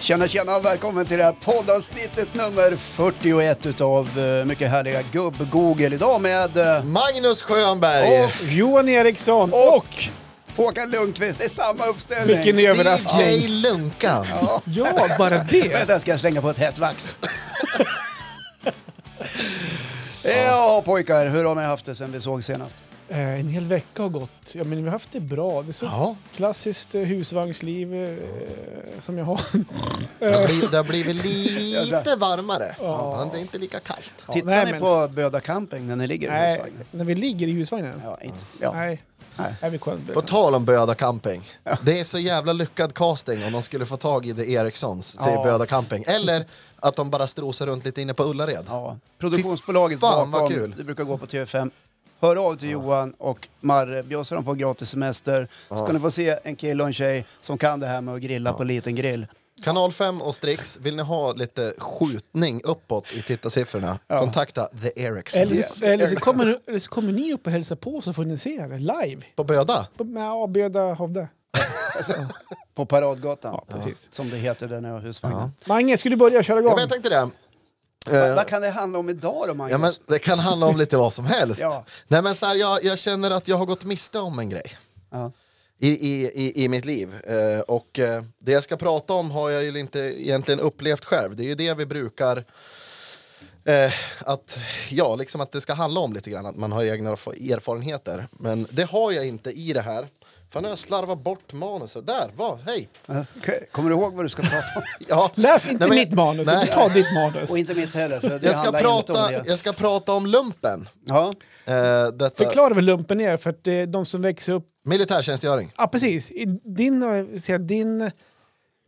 Tjena, tjena och välkommen till det här poddavsnittet nummer 41 utav eh, mycket härliga gubb-Google idag med eh, Magnus Schönberg! Och- Johan Eriksson Och- och, Håkan Lundqvist. Det är samma uppställning. vilken DJ överraskning! Lunkan! Ja, bara det! Vänta, ska jag slänga på ett hett vax? ja, pojkar, hur har ni haft det sen vi såg senast? Eh, en hel vecka har gått. Ja, men vi har haft det bra. Det är så Ja, klassiskt eh, husvagnsliv eh, som jag har. det har blivit, det har blivit Jag lite varmare. Ja, det är inte lika kallt. Tittar nej, ni men- på Böda camping när ni ligger i Nej, husvagnen? när vi ligger i husvagnen? Ja, inte. Ja. Nej. Nej. Är vi skönt? På tal om Böda camping. Det är så jävla lyckad casting om de skulle få tag i det Erikssons till Ja. Böda camping. Eller att de bara strosar runt lite inne på Ullared. Ja. Produktionsbolaget Fy fan, vad bakom, kul. det brukar gå på TV5. Hör av till Johan och Marre, bjussar dem på gratis semester. Så ska ni få se en kille och en tjej som kan det här med att grilla på liten grill. Kanal 5 och Strix, vill ni ha lite skjutning uppåt i tittarsiffrorna? Kontakta The Eller, Erikssons. eller, så kommer, eller så kommer ni upp och hälsar på så får ni se det live. På Böda? På- Med avböda Hovde. På Paradgatan, precis. som det heter där nere i husvagnen. Mange, skulle du börja köra Ja, igång? men jag tänkte det. Vad- Eh, Vad kan det handla om idag då, Magnus? Ja, men det kan handla om lite vad som helst. Ja. Nej, men så här, jag, jag känner att jag har gått miste om en grej Ja. i, i, i, i mitt liv. Eh, och eh, det jag ska prata om har jag ju inte egentligen upplevt själv. Det är ju det vi brukar... Eh, att, ja, liksom att det ska handla om lite grann, att man har egna erf- erfarenheter. Men det har jag inte i det här. Fan, nu har jag slarvat bort manuset. Där, va, hej! Okej, Kommer du ihåg vad du ska prata om? Ja. Läs inte Nej, men- mitt manus, Nej. utan ta ditt manus. Och inte mitt heller, för det Jag ska, handlar inte om prata, det. jag ska prata om lumpen. Ja. Eh, detta, Förklara vad lumpen är, för att det är de som växer upp militärtjänstgöring. Ja, precis. I Din, eh, säga, din,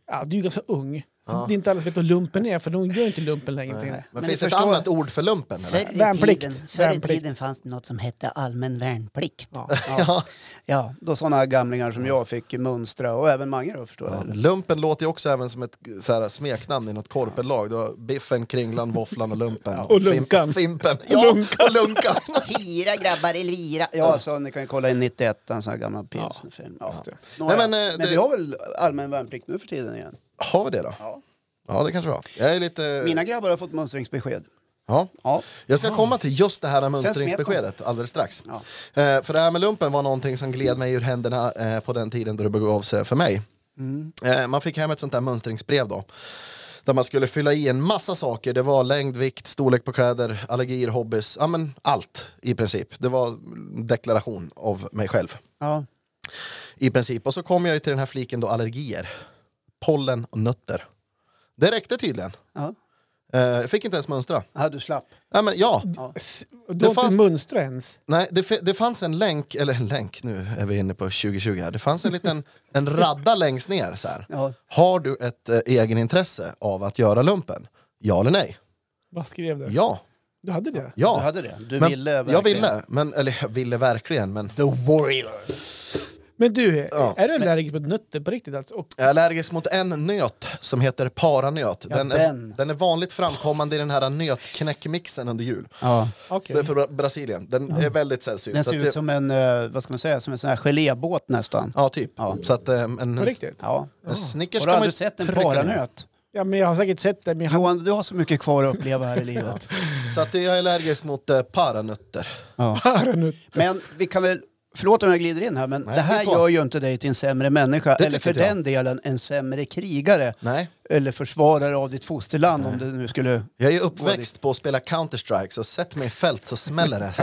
ja, du är ju ganska ung. Så det är inte alla som vet vad lumpen är, för de gör inte lumpen längre. till. Men, Men finns det ni ett förstår- annat ord för lumpen? Eller? Förr i, Värnplikt. Tiden, förr i Värnplikt. tiden fanns det något som hette allmän värnplikt. Ja. Ja. ja, då sådana gamlingar som jag fick mönstra, och även Mange då förstår jag. eller? Lumpen låter ju också även som ett så här, smeknamn i något korpenlag. Du har biffen, kringlan, våfflan och lumpen. Och lunkan. Fim, fimpen. Ja, och lunkan. Tira grabbar, Elvira. Ja, alltså ni kan ju kolla in 91, en sån här gammal pilsnerfilm. Ja. det. Nåja, Nej, men men, eh, det- vi har väl allmän värnplikt nu för tiden igen? Har vi det då? Ja. Ja, det kanske vi har. Jag är lite... Mina grabbar har fått mönstringsbesked. Ja. Ja. Jag ska komma till just det här med smet mönstringsbeskedet alldeles strax. Ja. Eh, för det här med lumpen var någonting som gled mig ur händerna eh, på den tiden då det begav sig för mig. Mm. Eh, man fick hem ett sånt där mönstringsbrev då. Där man skulle fylla i en massa saker. Det var längd, vikt, storlek på kläder, allergier, hobbys. Ja men allt i princip. Det var en deklaration av mig själv. Ja. I princip. Och så kom jag ju till den här fliken då allergier. Pollen och nötter. Det räckte tydligen. Ja. Eh, jag fick inte ens mönstra. ja, du slapp. Ja, men, ja. S- och Du har fanns- inte mönstrat ens. Nej, det, fi- det fanns en länk, eller en länk, nu är vi inne på 2020 här. Det fanns en liten en radda längst ner så här. Ja. Har du ett eh, egenintresse av att göra lumpen? Ja eller nej? Vad skrev du? Ja. Du hade det? Ja. Du hade det. Du men, ville verkligen. Jag ville, men, eller jag ville verkligen, men The warrior. Men du, Ja. är du allergisk mot nötter på riktigt? Alltså? Och, jag är allergisk mot en nöt som heter paranöt. Ja, Är, den. den är vanligt framkommande i den här nötknäckmixen under jul. Ja. okay. Den är från Bra- Brasilien. Den är väldigt sällsynt. Den så ser att ut det- som en, eh, vad ska man säga, som en sån här gelébåt nästan. Ja, typ. Ja. Så att, eh, en, en, På riktigt? Ja. en Snickers Har kan du man ju aldrig sett en trycka ner. paranöt? Ja, men jag har säkert sett det, men jag har... Johan, du har så mycket kvar att uppleva här i livet. Så att jag är allergisk mot eh, paranötter. Men vi kan väl, förlåt om jag glider in här, men det här det är bra. gör ju inte dig till en sämre människa, eller tycker för inte jag. den delen en sämre krigare. Nej. Eller försvarare av ditt fosterland om det nu skulle... Jag är ju uppväxt på att spela Counter-Strike, så sätt mig i fält så smäller det.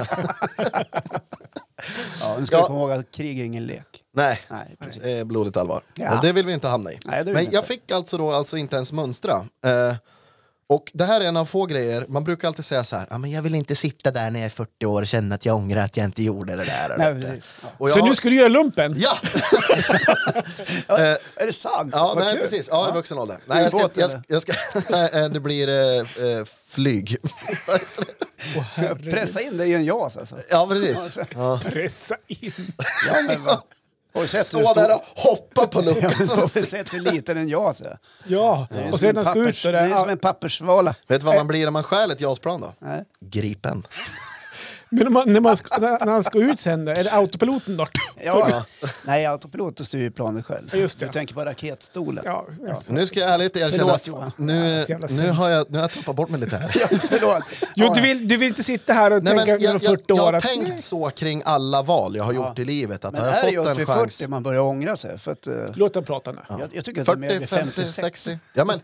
Ja, nu ska Ja. vi komma ihåg att krig är ingen lek. Nej, Nej, precis. det är blodigt allvar. Ja. Och det vill vi inte hamna i. Nej, det vill vi Men inte. jag fick alltså då alltså inte ens mönstra. Eh, och det här är en av få grejer, man brukar alltid säga så här, "Ja, men jag vill inte sitta där när jag är 40 år och känna att jag ångrar att jag inte gjorde det där. Nej, precis. Ja. och jag Så har- nu ska du göra lumpen? Ja! Eh, Är det sant? Ja, Vad nej, kul. precis. Ja, i vuxen ålder. Nej, jag ska, Ubåt, jag, eller? jag ska, nej, eh, det blir eh, eh, flyg. Åh, herregud. Pressa in dig i en JAS alltså. ja, precis. Ja. Pressa in! Ja, men va? Har du sett hur Stå stor- där och hoppa på luckan. Har du sett hur liten en JAS är? Ja, och Som en sen när han ska ut pappers- och det Det är som är... en pappersvala. Vet du vad man blir när man stjäl ett JAS-plan då? Nej. Gripen. Men om man, när, man ska, när, när han ska ut sen, då, är det autopiloten då? Ja. Nej, autopiloten styr ju planet själv. Ja, just det. Du tänker på raketstolen. Ja, Nu ska jag ärligt erkänna Förlåt, att Johan. nu, så jävla nu, sent. har jag, nu har jag tappat bort mig lite här. Ja, förlåt. Jo, Ja. du vill, du vill inte sitta här och Nej, men tänka när du är jag, jag, 40 jag år har att... tänkt så kring alla val jag har gjort i livet. Att Men har är det jag just fått en vid chans... 40 man börjar ångra sig? För att, eh, Låt den prata nu. jag, jag tycker att det är mer 40, vid 50, 56. 60. Ja, men,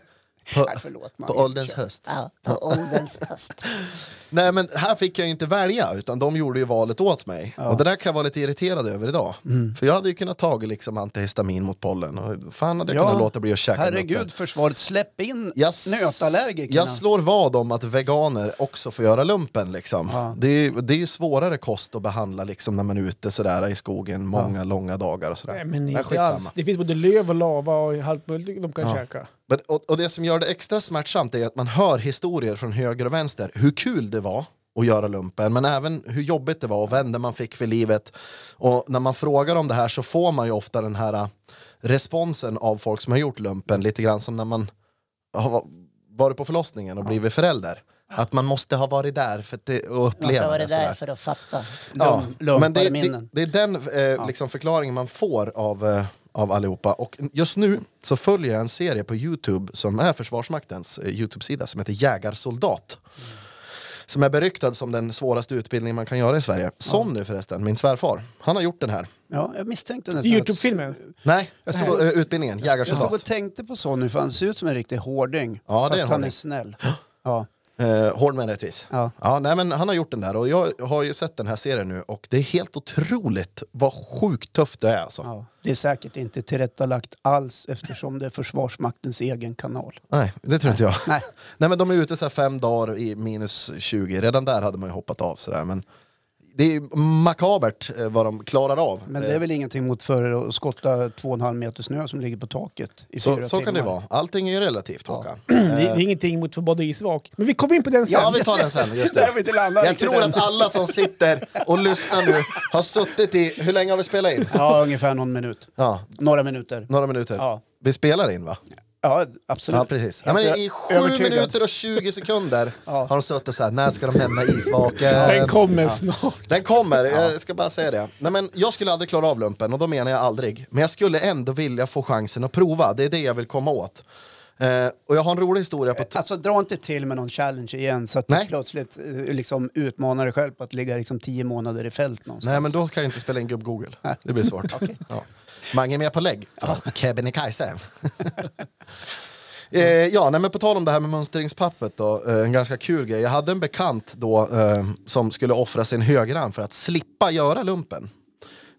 på, förlåt, man. på ålderns höst. Ja, på ålderns höst. Nej, men här fick jag ju inte välja, utan de gjorde ju valet åt mig. Och det där kan jag vara lite irriterad över idag. Mm. För jag hade ju kunnat ta liksom antihistamin mot pollen. Och fan hade jag kunnat låta bli att käka nötter. herregud, försvaret, släpp in Jag, s- nötallergikerna. jag slår vad om att veganer också får göra lumpen. Liksom. Det, är, ju- det är ju svårare kost att behandla liksom, när man är ute sådär, i skogen många långa dagar. Och sådär. Nej, men Nej, inte skitsamma. alls. Det finns både löv och lava och halvt möjligt de kan käka. Men, och, och det som gör det extra smärtsamt är att man hör historier från höger och vänster. Hur kul det var att göra lumpen, men även hur jobbigt det var och vänder man fick för livet. Och när man frågar om det här så får man ju ofta den här äh, responsen av folk som har gjort lumpen, lite grann som när man har va- varit på förlossningen och blivit förälder. Att man måste ha varit där för att det, och Man ska uppleva vara det. sådär. där för att fatta. Ja, Lum- lumpar men det, i det, minnen. det är den eh, liksom förklaringen man får av, eh, av allihopa. Och just nu så följer jag en serie på Youtube som är Försvarsmaktens eh, Youtube-sida som heter Jägarsoldat. Mm. Som är beryktad som den svåraste utbildningen man kan göra i Sverige. Som nu förresten, min svärfar. Han har gjort den här. Ja, jag misstänkte Det nästan. är att- Youtube-filmen. Nej, så, eh, utbildningen, Jag stod och jägarsoldat. tänkte på så nu, för han ser ut som en riktig hårding. Ja, det är en fast han hårding. är snäll. Ja. Eh, hård men rättvis. Ja. nej, men han har gjort den där och jag har ju sett den här serien nu och det är helt otroligt vad sjukt tufft det är alltså. Ja. Det är säkert inte tillrättalagt alls eftersom det är Försvarsmaktens egen kanal. Nej, det tror inte jag. Nej. Nej men de är ute så här fem dagar i minus 20, redan där hade man ju hoppat av sådär men det är ju makabert eh, vad de klarar av. Men det är väl ingenting mot för att skotta två och en halv meter snö som ligger på taket i så, fyra så kan timmar. det ju vara, allting är ju relativt Håkan. Det, det är ingenting mot Förbad isvak. Men vi kommer in på den sen. Eh. Ja vi tar den sen, just Där har det. vi inte landat Jag riktigt tror än. att alla som sitter och lyssnar nu har suttit i, hur länge har vi spelat in? Ja, ungefär någon minut. Ja, Några minuter. några minuter. Ja. Vi spelar in va? Ja, absolut. Ja precis. Ja, men I Helt sju övertygad. minuter och 20 sekunder har de suttit såhär, när ska de nämna isvaken? Den kommer snart. Den kommer, jag ska bara säga det. Nej, men jag skulle aldrig klara av lumpen, och då menar jag aldrig. Men jag skulle ändå vilja få chansen att prova, det är det jag vill komma åt. Eh, och jag har en rolig historia på... Alltså dra inte till med någon challenge igen så att Nej. du plötsligt eh, liksom, utmanar dig själv på att ligga liksom, tio månader i fält någonstans. Nej men då kan jag inte spela in gubb-Google, det blir svårt. ja. Mange med på lägg, från Kebnekaise. Eh, ja, nej, men på tal om det här med mönstringspappret då, eh, en ganska kul grej. Jag hade en bekant då eh, som skulle offra sin högerarm för att slippa göra lumpen.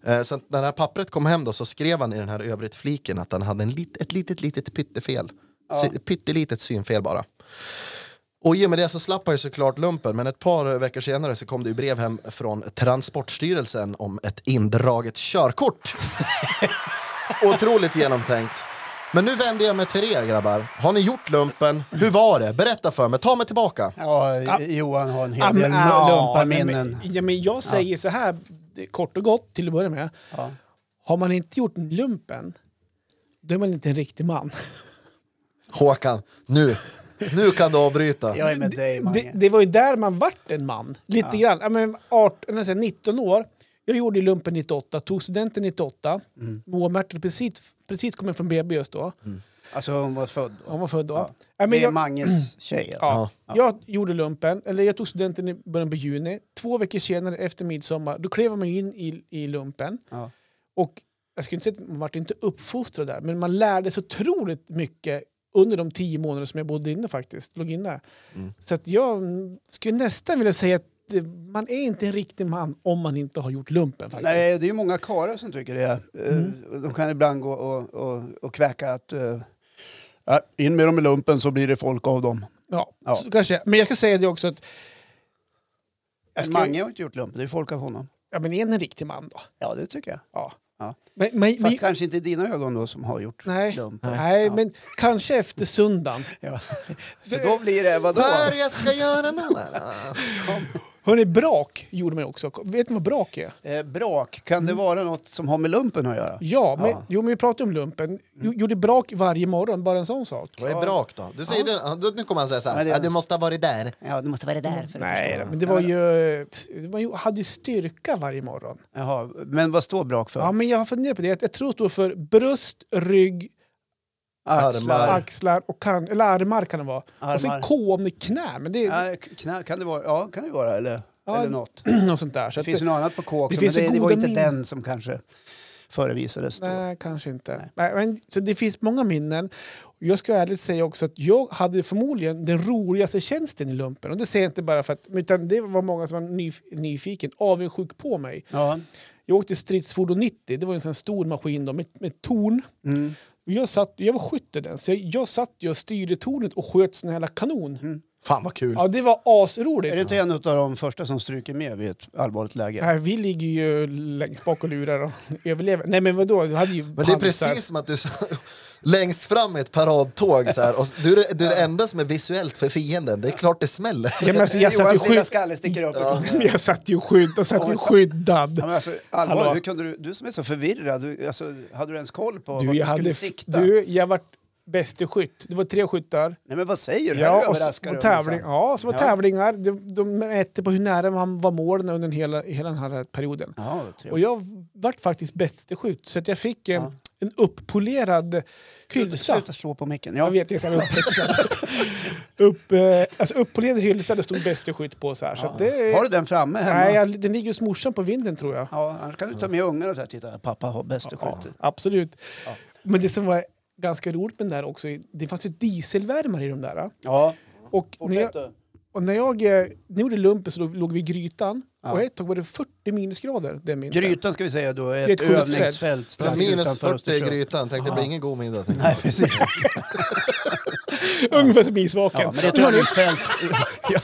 Eh, så att när det här pappret kom hem då så skrev han i den här övrigt fliken att han hade en lit, ett litet, litet pyttefel. Sy, pyttelitet synfel bara. Och i och med det så slapp han ju såklart lumpen, men ett par veckor senare så kom det ju brev hem från Transportstyrelsen om ett indraget körkort. Otroligt genomtänkt. Men nu vänder jag mig till er grabbar. Har ni gjort lumpen? Hur var det? Berätta för mig, ta mig tillbaka. Ja, Ah. J- Johan har en hel Ja, del men, ja, lumparminnen. men- Ja, men jag säger så här, det- kort och gott till att börja med. Ja. Har man inte gjort lumpen, då är man inte en riktig man. Håkan, nu. Nu kan du avbryta. Jag är med dig, Det, Mange. det var ju där man vart en man. Lite grann. Ja, men 18, nästan 19 år. Jag gjorde ju lumpen 98, tog studenten 98. Moa Mertel precis, precis kom in från BB just då. Alltså hon var född då. Hon var född då. Mm. Ja. men Det är jag, Manges tjej. alltså. ja, jag gjorde lumpen, eller jag tog studenten i början på juni. Två veckor senare efter midsommar, då klev man ju in i, i lumpen. Ja. Och jag skulle inte säga att man vart inte uppfostrad där, men man lärde sig otroligt mycket under de tio månader som jag bodde inne faktiskt, låg inne. Så att jag mm, skulle nästan vilja säga att eh, man är inte en riktig man om man inte har gjort lumpen faktiskt. Nej, det är ju många karlar som tycker det. Eh, De kan ibland gå och, och, och kväka att eh, "Ja, in med dem i lumpen så blir det folk av dem. Ja, Ja. Så kanske, men jag kan säga det också att... Jag Men ska, Mange har inte gjort lumpen, det är folk av honom. ja, men är han en riktig man då? Ja, det tycker jag. Ja. Ja. Men, men, Fast men, kanske inte i dina ögon då som har gjort nej, lumpen. nej Ja. men kanske efter söndagen. Ja. För då blir det, vadå? Där jag ska göra något. Hörni, brak gjorde man ju också. Vet ni vad brak är? Eh, brak, kan det vara något som har med lumpen att göra? Ja, men, Jo, men vi pratade om lumpen. Jo- Gjorde brak varje morgon, bara en sån sak. Vad är brak då? Du säger det, då- nu kommer han säga så här, Men det- "Ja, du måste ha varit där. Ja, det måste vara det där. För att Nej, förstå. men det var ju... Man hade ju styrka varje morgon. Jaha, men vad står brak för? Ja, men jag har funderat på det. Jag tror det står för bröst, rygg, Armar. axlar och kan, eller armar kan det vara. Och sen Armar. K om det är knä, men det är Ja, knä, kan det vara? Ja, kan det vara eller, Ja, eller något. något sånt där. Så Det att finns ju något annat på K det också, men finns ju det, det var goda inte min- den som kanske förevisades då. Nej, kanske inte. Nej. men, så det finns många minnen. Jag ska ärligt säga också att jag hade förmodligen den roligaste tjänsten i lumpen. Och det säger jag inte bara för att, utan det var många som var nyf- nyfiken, avundsjuk på mig. Ja, Jag åkte stridsfordon 90, det var en sån här stor maskin då, med, med torn. mm. Och Jag, satt, jag var skytt i den, så jag, jag satt ju och styrde tornet och sköt sån här kanon. Fan vad kul. Ja, det var asroligt. Är det inte en av de första som stryker med vid ett allvarligt läge? Nej, vi ligger ju längst bak och lurar och överlever. Nej men vadå, du hade ju Men det är pansar. precis som att du s- längst fram i ett paradtåg så här, och s- du, är- du är det enda som är visuellt för fienden. Det är klart det smäller. Ja, men alltså, jag, satt ju Johans lilla skydd, skalle sticker upp. Ja. jag satt ju skydd, jag satt ju skyddad. men alltså, allvar, Hallå. hur kunde du, du som är så förvirrad, du, alltså, hade du ens koll på Du, vart du jag, skulle hade, sikta? du, jag vart bäste skytt. Det var tre skyttar. Nej men vad säger du? Här Ja, och, s- överraskar och du mig tävling, sen. ja, så var Ja. tävlingar. De, de mätte på hur nära man var målen under den hela, hela den här perioden. Ja, vad trevligt. Och jag vart faktiskt bäste skytt, så att jag fick eh, Ja. en uppolerad hylsa. Sluta slå på micken. Jag Ja. vet, det är så här upphetsad. upp, eh, alltså uppolerad hylsa, det stod bäste skytt på så här. Så att det, Har du den framme hemma? eh, Nej, jag, den ligger hos morsan på vinden tror jag. Ja, annars kan du ta med ungarna och säga titta, pappa har bäst och skjuter. Absolut. Men det som var ganska roligt med den där också, det fanns ju dieselvärmare i de där. Ja, Och när jag, fortsätt du. och när jag eh, när jag gjorde lumpen så låg, låg vi i grytan Ja. och ett tag var det 40 minusgrader den vintern. Grytan ska vi säga då är Det är ett, ett skjutfält. övningsfält strax Minus utanför 40 i Östersund. grytan, tänkte det blir ingen god middag. tänkte Nej, precis. Ungefär som isvaken. Ja, men det är ett övningsfält. Ja.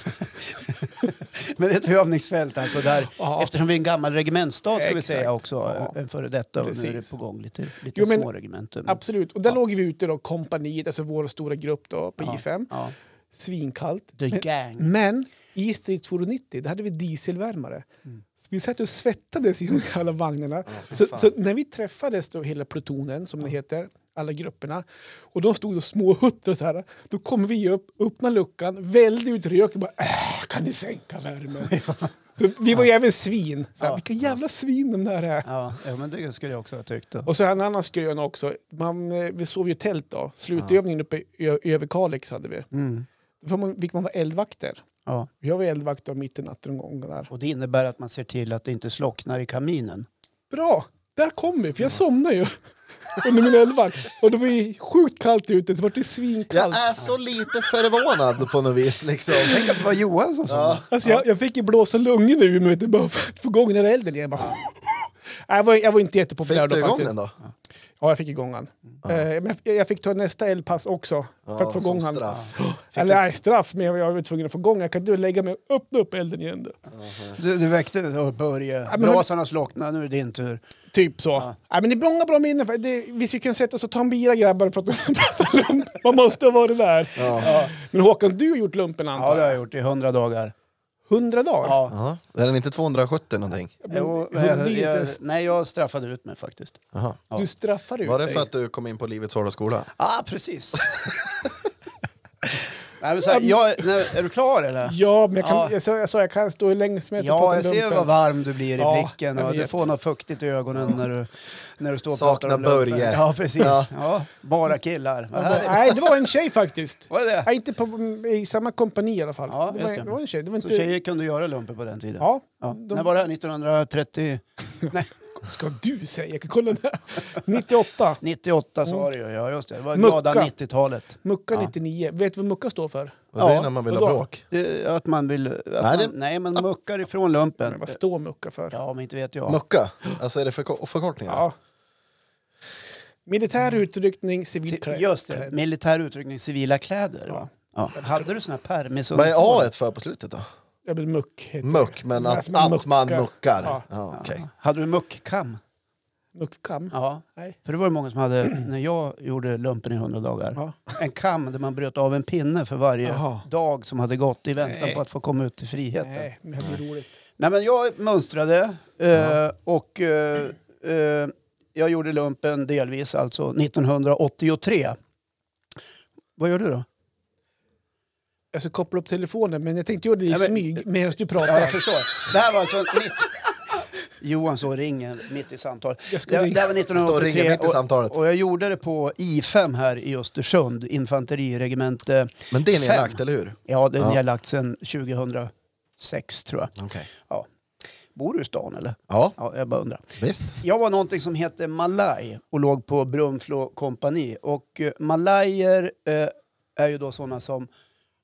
men det är ett övningsfält alltså där, Ja. eftersom vi är en gammal regementsstad ska vi Exakt. säga också, Ja. en före detta och nu är Precis. det på gång lite, lite Jo, men- små regementen. Absolut. Och där låg vi ute då, kompaniet, alltså vår stora grupp då, på I5. Ja. Svinkallt. The gang. Men i stridsfordon 90, där hade vi dieselvärmare. Mm. Så vi satt och svettades i de alla vagnarna. så, så när vi träffades, då, hela plutonen som det heter, alla grupperna, och de stod och småhuttrade så här, då kom vi upp, öppnade luckan, välde ut rök och bara äh, kan ni sänka värmen? så vi var ju även svin. Så här, Vilka jävla svin de där är. Ja, ja, men det skulle jag också ha tyckt. Då. Och så en annan skrön också. Man, eh, vi sov ju i tält då. Slutövningen uppe i Ö- Överkalix hade vi. Mm. Då får man- fick man vara eldvakter. Ja. Jag var eldvakt då mitt i natten en gång. Där. Och det innebär att man ser till att det inte slocknar i kaminen. Bra, där kom vi. För jag somnade ju under min eldvakt. Och det var ju sjukt kallt ute. Det var det Jag svinkallt. Jag är så lite förvånad på något vis. Liksom. Tänk att det var Johan som sa det. Alltså, jag, jag fick ju blåsa lungorna ur mig vet, bara för att få igång den där elden igen. Bara, Nej, Jag var, jag var inte jättepopulär Fick du igång faktiskt. den då? Ja, jag fick igång den. Eh, men jag, jag fick ta nästa eldpass också för Ja, att som få igång den. straff. Eller nej, straff, men jag jag var tvungen att få igång den. Jag kan inte lägga mig och öppna upp elden igen. Då. Du, du väckte och Börje. men hur- Brasan har slocknat, nu är det din tur. Typ så. Nej, men det är många bra minnen. för Det, vi skulle kunna sätta oss och ta en bira grabbar och prata, prata lump. Man måste ha varit där. Ja. Men Håkan, du har gjort lumpen Ja, antar det jag? har jag gjort i hundra dagar. 100 dagar? Ja. Ja. Är den inte 270 någonting? Men, Jo, hur- det är jag, inte jag, ens- nej, jag straffade ut mig faktiskt. Jaha. ja. Du straffar ut Var det dig. för att du kom in på Livets hårda skola? Ja, ah, precis. nej, men så här, jag, nej, är du klar eller? Ja, men jag, kan, Ja. jag, sa, jag sa jag kan stå hur länge som helst och Ja, prata jag ser lumpen. vad varm du blir i Ja, blicken jag och du vet. får något fuktigt i ögonen när du, när du står och Saknar pratar om lumpen. Börje. Ja, precis. Ja. Ja. bara killar. Vad härligt. Nej, det var en tjej faktiskt. Var det det? Nej, inte på, i samma kompani i alla fall. Ja, det, just var, det. det var en tjej. Det var Så inte... tjejer kunde göra lumpen på den tiden? Ja, Ja. de- När var det här? 1930? Nej, ska du säga? Jag kan kolla där. 98. 98 så var det ju. Ja, just det. Det var Mm. Mucka. glada 90-talet. Mucka 99. Vet du vad mucka står för? Och det är när man vill ha vadå? bråk. Det- Att man vill... Att nej, Nej, man, det- nej, men muckar ifrån lumpen. Men vad står mucka för? Ja, men inte vet jag. Mucka? Alltså är det förko- förkortningar? Ja. Militär utryckning, civil Mm. Ci- klädd. Just det, klädd. militär uttryckning, civila kläder. Va? Ja. Hade du såna här permis Vad är A för på slutet då? Ja, men Mm. muck heter det. Muck, men Nej, att, men att man muckar. muckar. Ja. Ja, okej. Hade du muckkam? Muckkam? Ja. Nej. För det var det många som hade, när jag gjorde lumpen i 100 dagar, Ja. en kam där man bröt av en pinne för varje Jaha. dag som hade gått i väntan Nej. på att få komma ut till friheten. Nej, Nej, men det är roligt. men jag mönstrade eh, och eh, eh, jag gjorde lumpen delvis alltså 1983. Vad gör du då? Jag ska koppla upp telefonen, men jag tänkte göra det i Nej, men- smyg medan du Ja, jag pratar. förstår. Det här var alltså... Mitt... Johan så ringer mitt i samtalet. Jag ska Det, ringa. det här var Står och ringer 1983 mitt i samtalet. och jag gjorde det på I5 här i Östersund, infanteriregemente Men det är Fem. nedlagt, eller hur? Ja, den Ja. har jag lagt sedan 2006 tror jag. Okej. Ja. Bor du i stan eller? Ja, Ja, jag bara undrar. visst. Jag var någonting som hette Malaj och låg på Brunflo kompani. Och eh, malajer eh, är ju då sådana som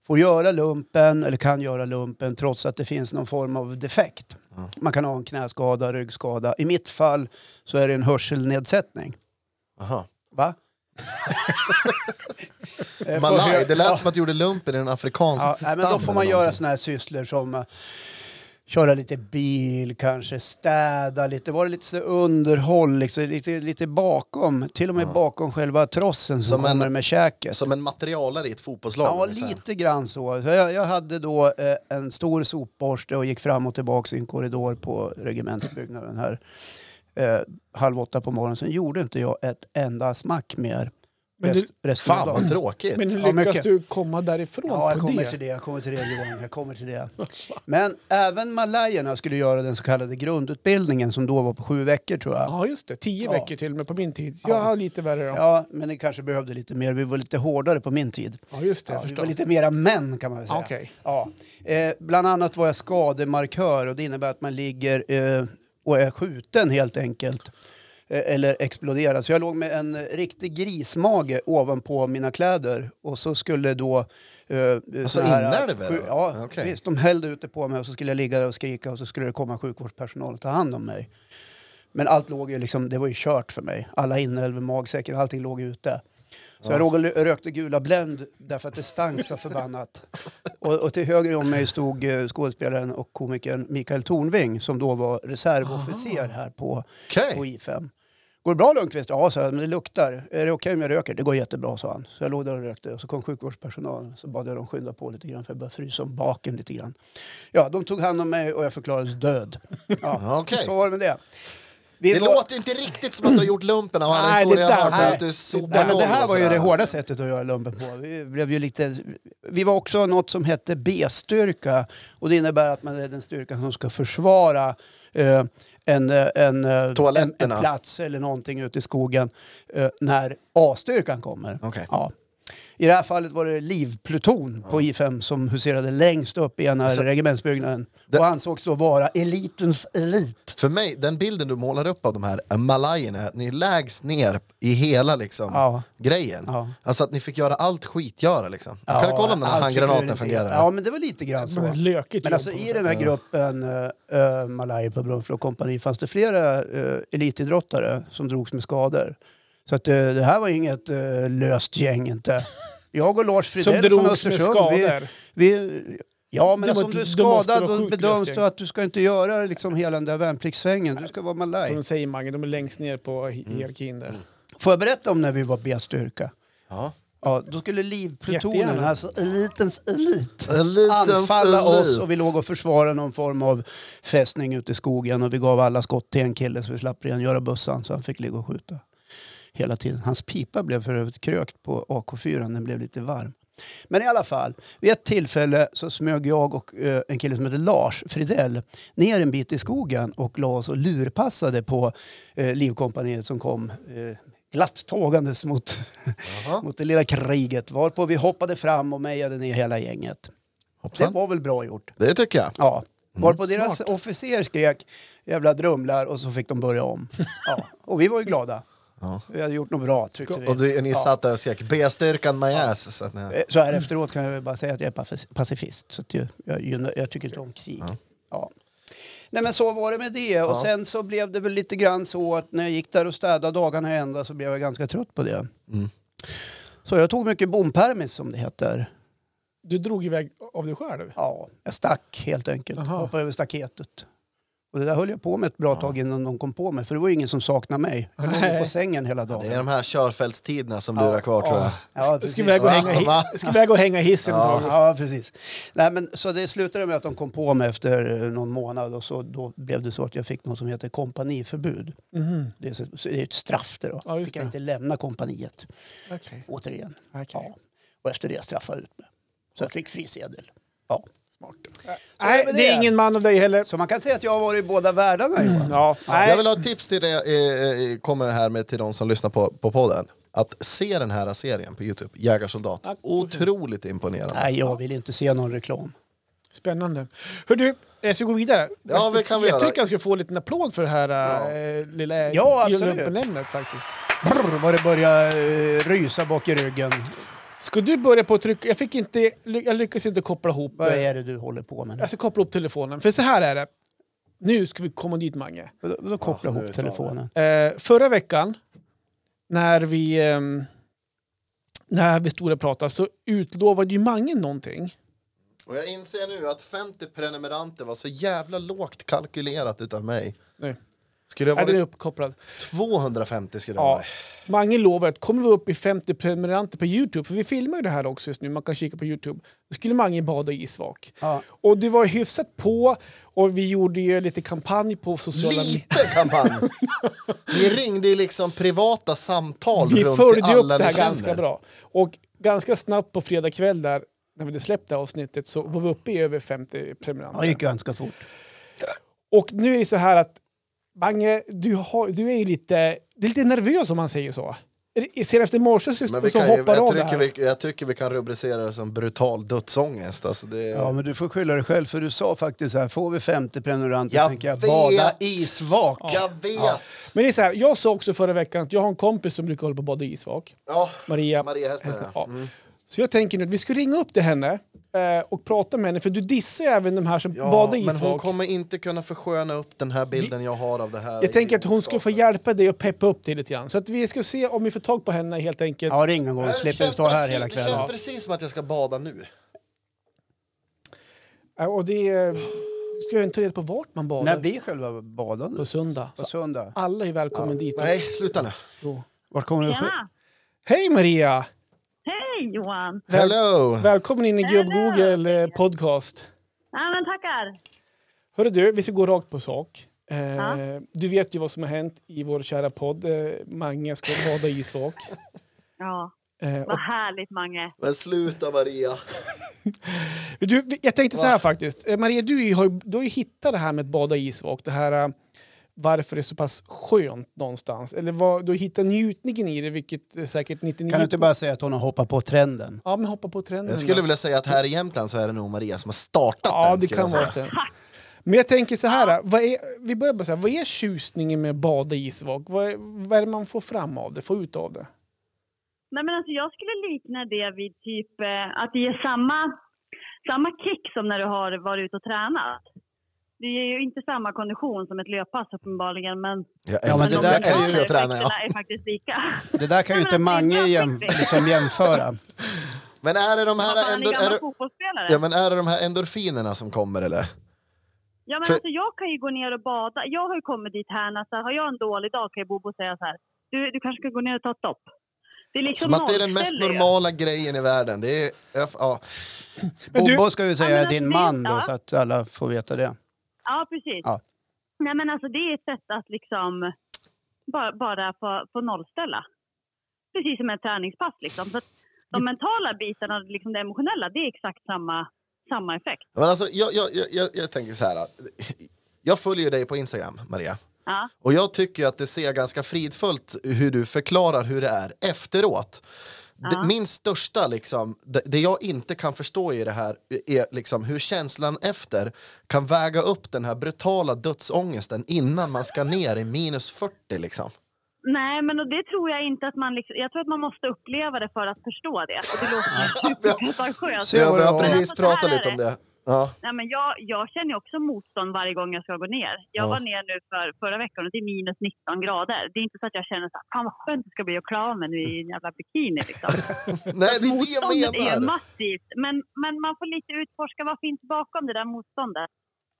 får göra lumpen eller kan göra lumpen trots att det finns någon form av defekt. Man kan ha en knäskada, ryggskada. I mitt fall så är det en hörselnedsättning. Aha. Va? Eh, på Malaj, hö- det lät som att du gjorde lumpen i en afrikansk Ja, nej, stam. men då får eller man göra någonting. såna här sysslor som eh, köra lite bil, kanske städa lite, vara lite så underhåll, liksom, lite, lite bakom, till och med bakom själva trossen som, Som en- kommer med käket. Som en materialare i ett fotbollslag. Ja, ungefär. lite grann så. så jag, jag hade då eh, en stor sopborste och gick fram och tillbaka i en korridor på regementsbyggnaden här eh, halv åtta på morgonen. Sen gjorde inte jag ett enda smack mer Men du- rest, resten av Fan vad dagen. tråkigt. Men hur Ja, lyckas mycket. du komma därifrån Ja, jag på kommer det? till det. Jag kommer till det, Johan. Jag kommer till det. Men även malajerna skulle göra den så kallade grundutbildningen som då var på sju veckor tror jag. Ja, just det. Tio Ja. veckor till och med på min tid. Jag har lite värre då. Ja, Ja, men det kanske behövde lite mer. Vi var lite hårdare på min tid. just det. Ja, jag vi förstår. var lite mera män kan man väl säga. Okej. Ja. Eh, bland annat var jag skademarkör och det innebär att man ligger eh, och är skjuten helt enkelt. Eh, eller exploderar. Så jag låg med en eh, riktig grismage ovanpå mina kläder och så skulle då... Eh, alltså inälvor, eller? Ja, Okej. visst. De hällde ut det på mig och så skulle jag ligga där och skrika och så skulle det komma sjukvårdspersonal och ta hand om mig. Men allt låg ju liksom, det var ju kört för mig. Alla inälvor, magsäcken, allting låg ute. Så jag låg och l- rökte gula Blend därför att det stank så förbannat. Och, och till höger om mig stod eh, skådespelaren och komikern Mikael Tornving som då var reservofficer här på, Okej. på I5. Går det bra Lundqvist? Ja, sa jag, men det luktar. Är det okej om jag röker? Det går jättebra, sa han. Så jag låg där och rökte och så kom sjukvårdspersonalen. Så bad jag dem skynda på lite grann för jag började frysa om baken lite grann. Ja, de tog hand om mig och jag förklarades död. Ja, Okej. Så var det med det. Vi Det var- låter inte riktigt som att du har gjort lumpen av alla Nej, historier det jag har hört. där- att du sopar Nej, men det golv här och var ju sådär. det hårda sättet att göra lumpen på. Vi, blev ju lite, vi var också något som hette B-styrka och det innebär att man är den styrkan som ska försvara eh, en, eh, en, eh, en, en Toaletterna. plats eller någonting ute i skogen eh, när A-styrkan kommer. Okej. Ja. I det här fallet var det Livpluton på I5 som huserade längst upp i ena Alltså- regementsbyggnaden Det- och ansågs då vara elitens elit. För mig, den bilden du målar upp av de här malajerna är att ni är lägst ner i hela liksom, Ja. grejen. Ja. Alltså att ni fick göra allt skitgöra liksom. kan du kolla om den här allt handgranaten fick- fungerar? Ja, men det var lite grann Men det är så. lökigt Men jobb alltså på något i sätt. den här gruppen uh, Malaya på Brunflo kompani fanns det flera eh, elitidrottare som drogs med skador. Så att, eh, det här var inget eh, löst gäng inte. Jag och Lars Fridell Som från drogs med Östersund. skador. Vi, vi, ja men Det alltså, var om ett- du är då måste det skadad vara då sjukt bedöms löst du gäng. att du ska inte göra liksom hela den där värnpliktssvängen. Du ska vara Som du malaj. säger Mange, de är längst ner på hi- Mm. hierarkin där. Får jag berätta om när vi var B-styrka? Ja. Ja, då skulle livplutonen, Jättegärna. alltså elitens elit, Elitens anfalla elit. oss och vi låg och försvarade någon form av fästning ute i skogen och vi gav alla skott till en kille så vi slapp rengöra bössan så han fick ligga och skjuta hela tiden. Hans pipa blev för övrigt krökt på AK4, den blev lite varm. Men i alla fall, vid ett tillfälle så smög jag och eh, en kille som heter Lars Fridell ner en bit i skogen och la oss och lurpassade på eh, Livkompaniet som kom eh, glatt tågandes mot, mot det lilla kriget. Varpå vi hoppade fram och mejade ner hela gänget. Det Hoppsan. var väl bra gjort? Det tycker jag. Ja. Mm. Varpå deras officer skrek jävla drumlar och så fick de börja om. Ja. Och vi var ju glada. Ja. Vi hade gjort något bra tyckte vi. Och du, ni Ja. satt där och skrek B-styrkan my ass. Så att ni... Eh, Så här efteråt kan jag väl bara säga att jag är pacif- pacifist. Så att jag, jag, gynnar- jag tycker inte om krig. Ja. Nej men så var det med det. Och sen så blev det väl lite grann så att när jag gick där och städade dagarna i ända så blev jag ganska trött på det. Mm. Så jag tog mycket bompermis som det heter. Du drog iväg av dig själv? Ja, jag stack helt enkelt. Aha. Hoppade över staketet. Och det där höll jag på med ett bra tag innan de kom på mig. För det var ju ingen som saknade mig. Jag låg ju på sängen hela dagen. Det är de här körfältstiderna som lurar kvar tror jag. Ja, Jag precis. skulle iväg och Va? hänga, Va? hi- skulle iväg och hänga i hissen ett tag. Ja, precis. Nej, men, så det slutade med att de kom på mig efter eh, någon månad och så, då blev det så att jag fick något som heter kompaniförbud. Mhm. Det är, så, så det är ett straff det då. Ja, just Fick jag det. inte lämna kompaniet Okej. återigen. Okej. Ja. Och efter det straffade jag ut mig. Så jag fick frisedel. Ja. Smart. Nej, men det är det. ingen man av dig heller. Så man kan säga att jag har varit i båda världarna Johan. Ja, Jag nej. vill ha ett tips till det, eh, eh, kommer här med till de som lyssnar på, på podden. Att se den här serien på Youtube, Jägarsoldat. Otroligt imponerande. Nej, jag vill inte se någon reklam. Spännande. Hör du, eh, jag ska gå vidare. Ja, det kan vi jag göra. tycker jag ska få en liten applåd för det här eh, lilla Ja, absolut. julrumpenämnet faktiskt. Brr, vad det börjar eh, rysa bak i ryggen. Ska du börja på att trycka? Jag, fick inte, ly- jag lyckades inte koppla ihop. Vad eh, är det Alltså, du håller på med nu? Jag ska koppla ihop telefonen. För så här är det. Nu ska vi komma dit, Mange. Då, då koppla Ja, nu ihop tar vi. telefonen. Eh, förra veckan, när vi, ehm, när vi stod och pratade, så utlovade ju Mange någonting. Och jag inser nu att 50 prenumeranter var så jävla lågt kalkylerat utav mig. Nu. Skulle jag Är den varit uppkopplad? 250 skulle jag Ja. varit. Mange lovade att kommer vi upp i 50 prenumeranter på Youtube, för vi filmar ju det här också just nu, man kan kika på Youtube, då skulle Mange bada i svak. Ja. Och det var hyfsat på och vi gjorde ju lite kampanj på sociala medier. Lite kampanj! Ni ringde ju liksom privata samtal Vi runt följde till ju upp alla det här ni känner. ganska bra. Och ganska snabbt på fredag kväll där, när vi hade släppt det här avsnittet, så var vi uppe i över 50 Ja, prenumeranter. det gick ganska fort. Och nu är det så här att Mange, du, har, du är ju lite, du är lite nervös om man säger så. Sen efter i morse så, Men vi så kan, ju- hoppar jag, av det tycker här. vi, jag tycker vi kan rubricera det som brutal dödsångest. Alltså det, Ja, men du får skylla dig själv för du sa faktiskt så här, får vi 50 prenumeranter Jag tänker jag vet. bada i svak. Jag vet! Men det är så här, jag sa också förra veckan att jag har en kompis som brukar hålla på och bada i isvak. Ja. Maria. Maria Hestner, Hestner, ja. Mm. ja. Så jag tänker nu att vi ska ringa upp till henne eh, och prata med henne, för du dissar ju även de här som Ja, badar i men hon isvak. kommer inte kunna försköna upp den här bilden jag har av det här. Jag tänker att hon egenskapen. skulle få hjälpa dig och peppa upp dig lite grann. Så att vi ska se om vi får tag på henne helt enkelt. Ja, ring någon gång. Det Slipper känns stå här precis- hela Det känns kvällen. precis som att jag ska bada nu. Eh, Och det är, ska jag inte ta reda på vart man badar När blir själva på badandet? söndag. På Så söndag? alla är välkomna dit. Nej, sluta nu. Jo. Vart kommer du ske? Tjena! Hej Maria! Hej Johan! Väl- Hello! Välkommen in i Hej, Gubb-Google eh, podcast. Ja, men tackar! Hörru du, vi ska gå rakt på sak. Eh, Ja. Du vet ju vad som har hänt i vår kära podd. Eh, Mange ska bada i isvak. Ja, Eh, och, vad härligt Mange. Men sluta Maria. du, vi- jag tänkte så här faktiskt. Eh, Maria, du ju har, ju- du har ju hittat det här med att bada i isvak. Det här eh, varför det är så pass skönt någonstans. Eller vad, du har hittat njutningen i det, vilket eh, säkert 99... Kan du inte bara säga att hon har hoppat på trenden? Ja, men hoppa på trenden. Jag då. skulle vilja säga att här i Jämtland så är det nog Maria som har startat Ja, den. det skulle kan jag vara säga. det. Men jag tänker så här, eh, vad är, vi börjar bara så här, vad är tjusningen med att bada i isvak? Vad, är- vad är det man får fram av det, får ut av det? Nej, men alltså, jag skulle likna det vid typ eh, att det ger samma, samma kick som när du har varit ute och tränat. Det ger ju inte samma kondition som ett löppass uppenbarligen men, Jag Ja, men det de älskar, där jag är ju- älskar mentala att träna. Ja. effekterna är faktiskt lika. Det där kan ju Nej, inte men alltså, Mange det är jäm, perfekt. liksom jämföra. Men är det de Vad här, fan, en endor, är gammal det, fotbollsspelare. ja, men är det de här endorfinerna som kommer eller? Ja, men För- alltså, jag kan ju gå ner och bada. Jag har ju kommit dit här att har jag en dålig dag kan ju Bobo säga så här. Du, du kanske ska gå ner och ta ett dopp. Det är liksom Som att det är den mest nollställer ju. normala grejen i världen. Det är, jag- ja. Men du- Bobo ska vi säga Ja, är men din alltså, det- man då, ja. så att alla får veta det. Ja, precis. Ja. Nej, men alltså, det är ett sätt att liksom bara, bara få, få nollställa. Precis som ett träningspass. Liksom. Så att de mentala bitarna, liksom det emotionella, det är exakt samma, samma effekt. Men alltså, jag, jag, jag- jag, jag tänker så här. Jag följer dig på Instagram, Maria. Ja. Och jag tycker att det ser ganska fridfullt hur du förklarar hur det är efteråt. Det- Min största, liksom, det, det jag inte kan förstå i det här är liksom hur känslan efter kan väga upp den här brutala dödsångesten innan man ska ner i minus 40. Liksom. Nej, men och det tror jag inte att man... Liksom, jag tror att man måste uppleva det för att förstå det. Och det låter superpretentiöst. Så- Jag vad det var. har precis Men alltså, pratat så här lite om är det. Ja. Nej, men jag, jag känner ju också motstånd varje gång jag ska gå ner. Jag Ja. var ner nu för, förra veckan och det är minus 19 grader. Det är inte så att jag känner så här, fan vad skönt det ska bli att klä av mig nu i en jävla bikini. Liksom. Nej, det är det Motståndet jag är Mm. menar. massivt, men, men man får lite utforska vad finns bakom det där motståndet.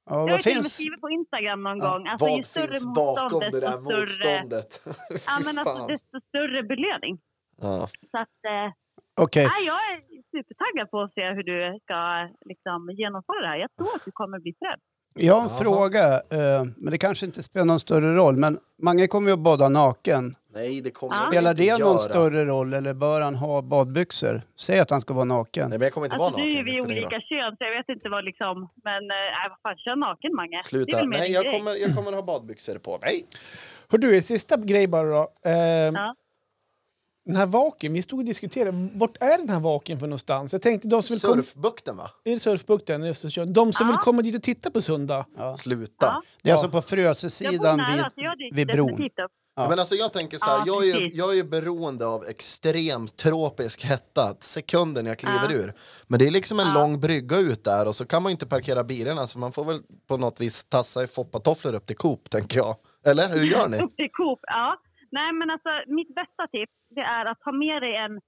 Ja, Jag har vad ju till och med finns? skrivit på Instagram någon gång. Alltså, ju Vad större finns motstånd, bakom det desto där större, motståndet? Ja, Fy men alltså, fan. desto större belöning. Ja. Så att, eh, Okej, nej, jag är supertaggad på att se hur du ska liksom, genomföra det här. Jag tror att du kommer bli fred. jag har en Jaha. fråga. eh, Men det kanske inte spelar någon större roll. Men Mange kommer ju att bada naken. Nej, det kommer Ja. jag Spelar inte det någon göra. större roll eller bör han ha badbyxor? Säg att han ska vara naken. Nej, men jag kommer inte Alltså, vara nu naken. är vi det spelar ingen roll. olika kön, så jag vet inte vad liksom... Men eh, nej, vad fan, kör naken, Mange. Det är Sluta. väl mer Nej, din jag grej. kommer, jag kommer ha badbyxor på mig. Hör du, sista grej bara då. Eh, Ja. Den här vaken, vi stod och diskuterade, vart är den här vaken för någonstans? Jag tänkte de som vill komma... Surfbukten, va? Är det surfbukten i Östersjön? De som Ja. vill komma dit och titta på söndag? Ja. Sluta. Ja. Det är alltså på Jag bor Frösesidan nära, vid, så jag dyker vid bron. definitivt upp. Ja. Men alltså jag tänker så här, Ja, jag, är ju, precis. jag är ju beroende av extremt tropisk hetta sekunden jag kliver Ja. ur. Men det är liksom en Ja. lång brygga ut där och så kan man ju inte parkera bilarna så man får väl på något vis tassa i foppatofflor upp till Coop tänker jag. Eller hur gör ni? Upp till Coop, ja. Nej, men alltså, mitt bästa tips det är att ta med dig en,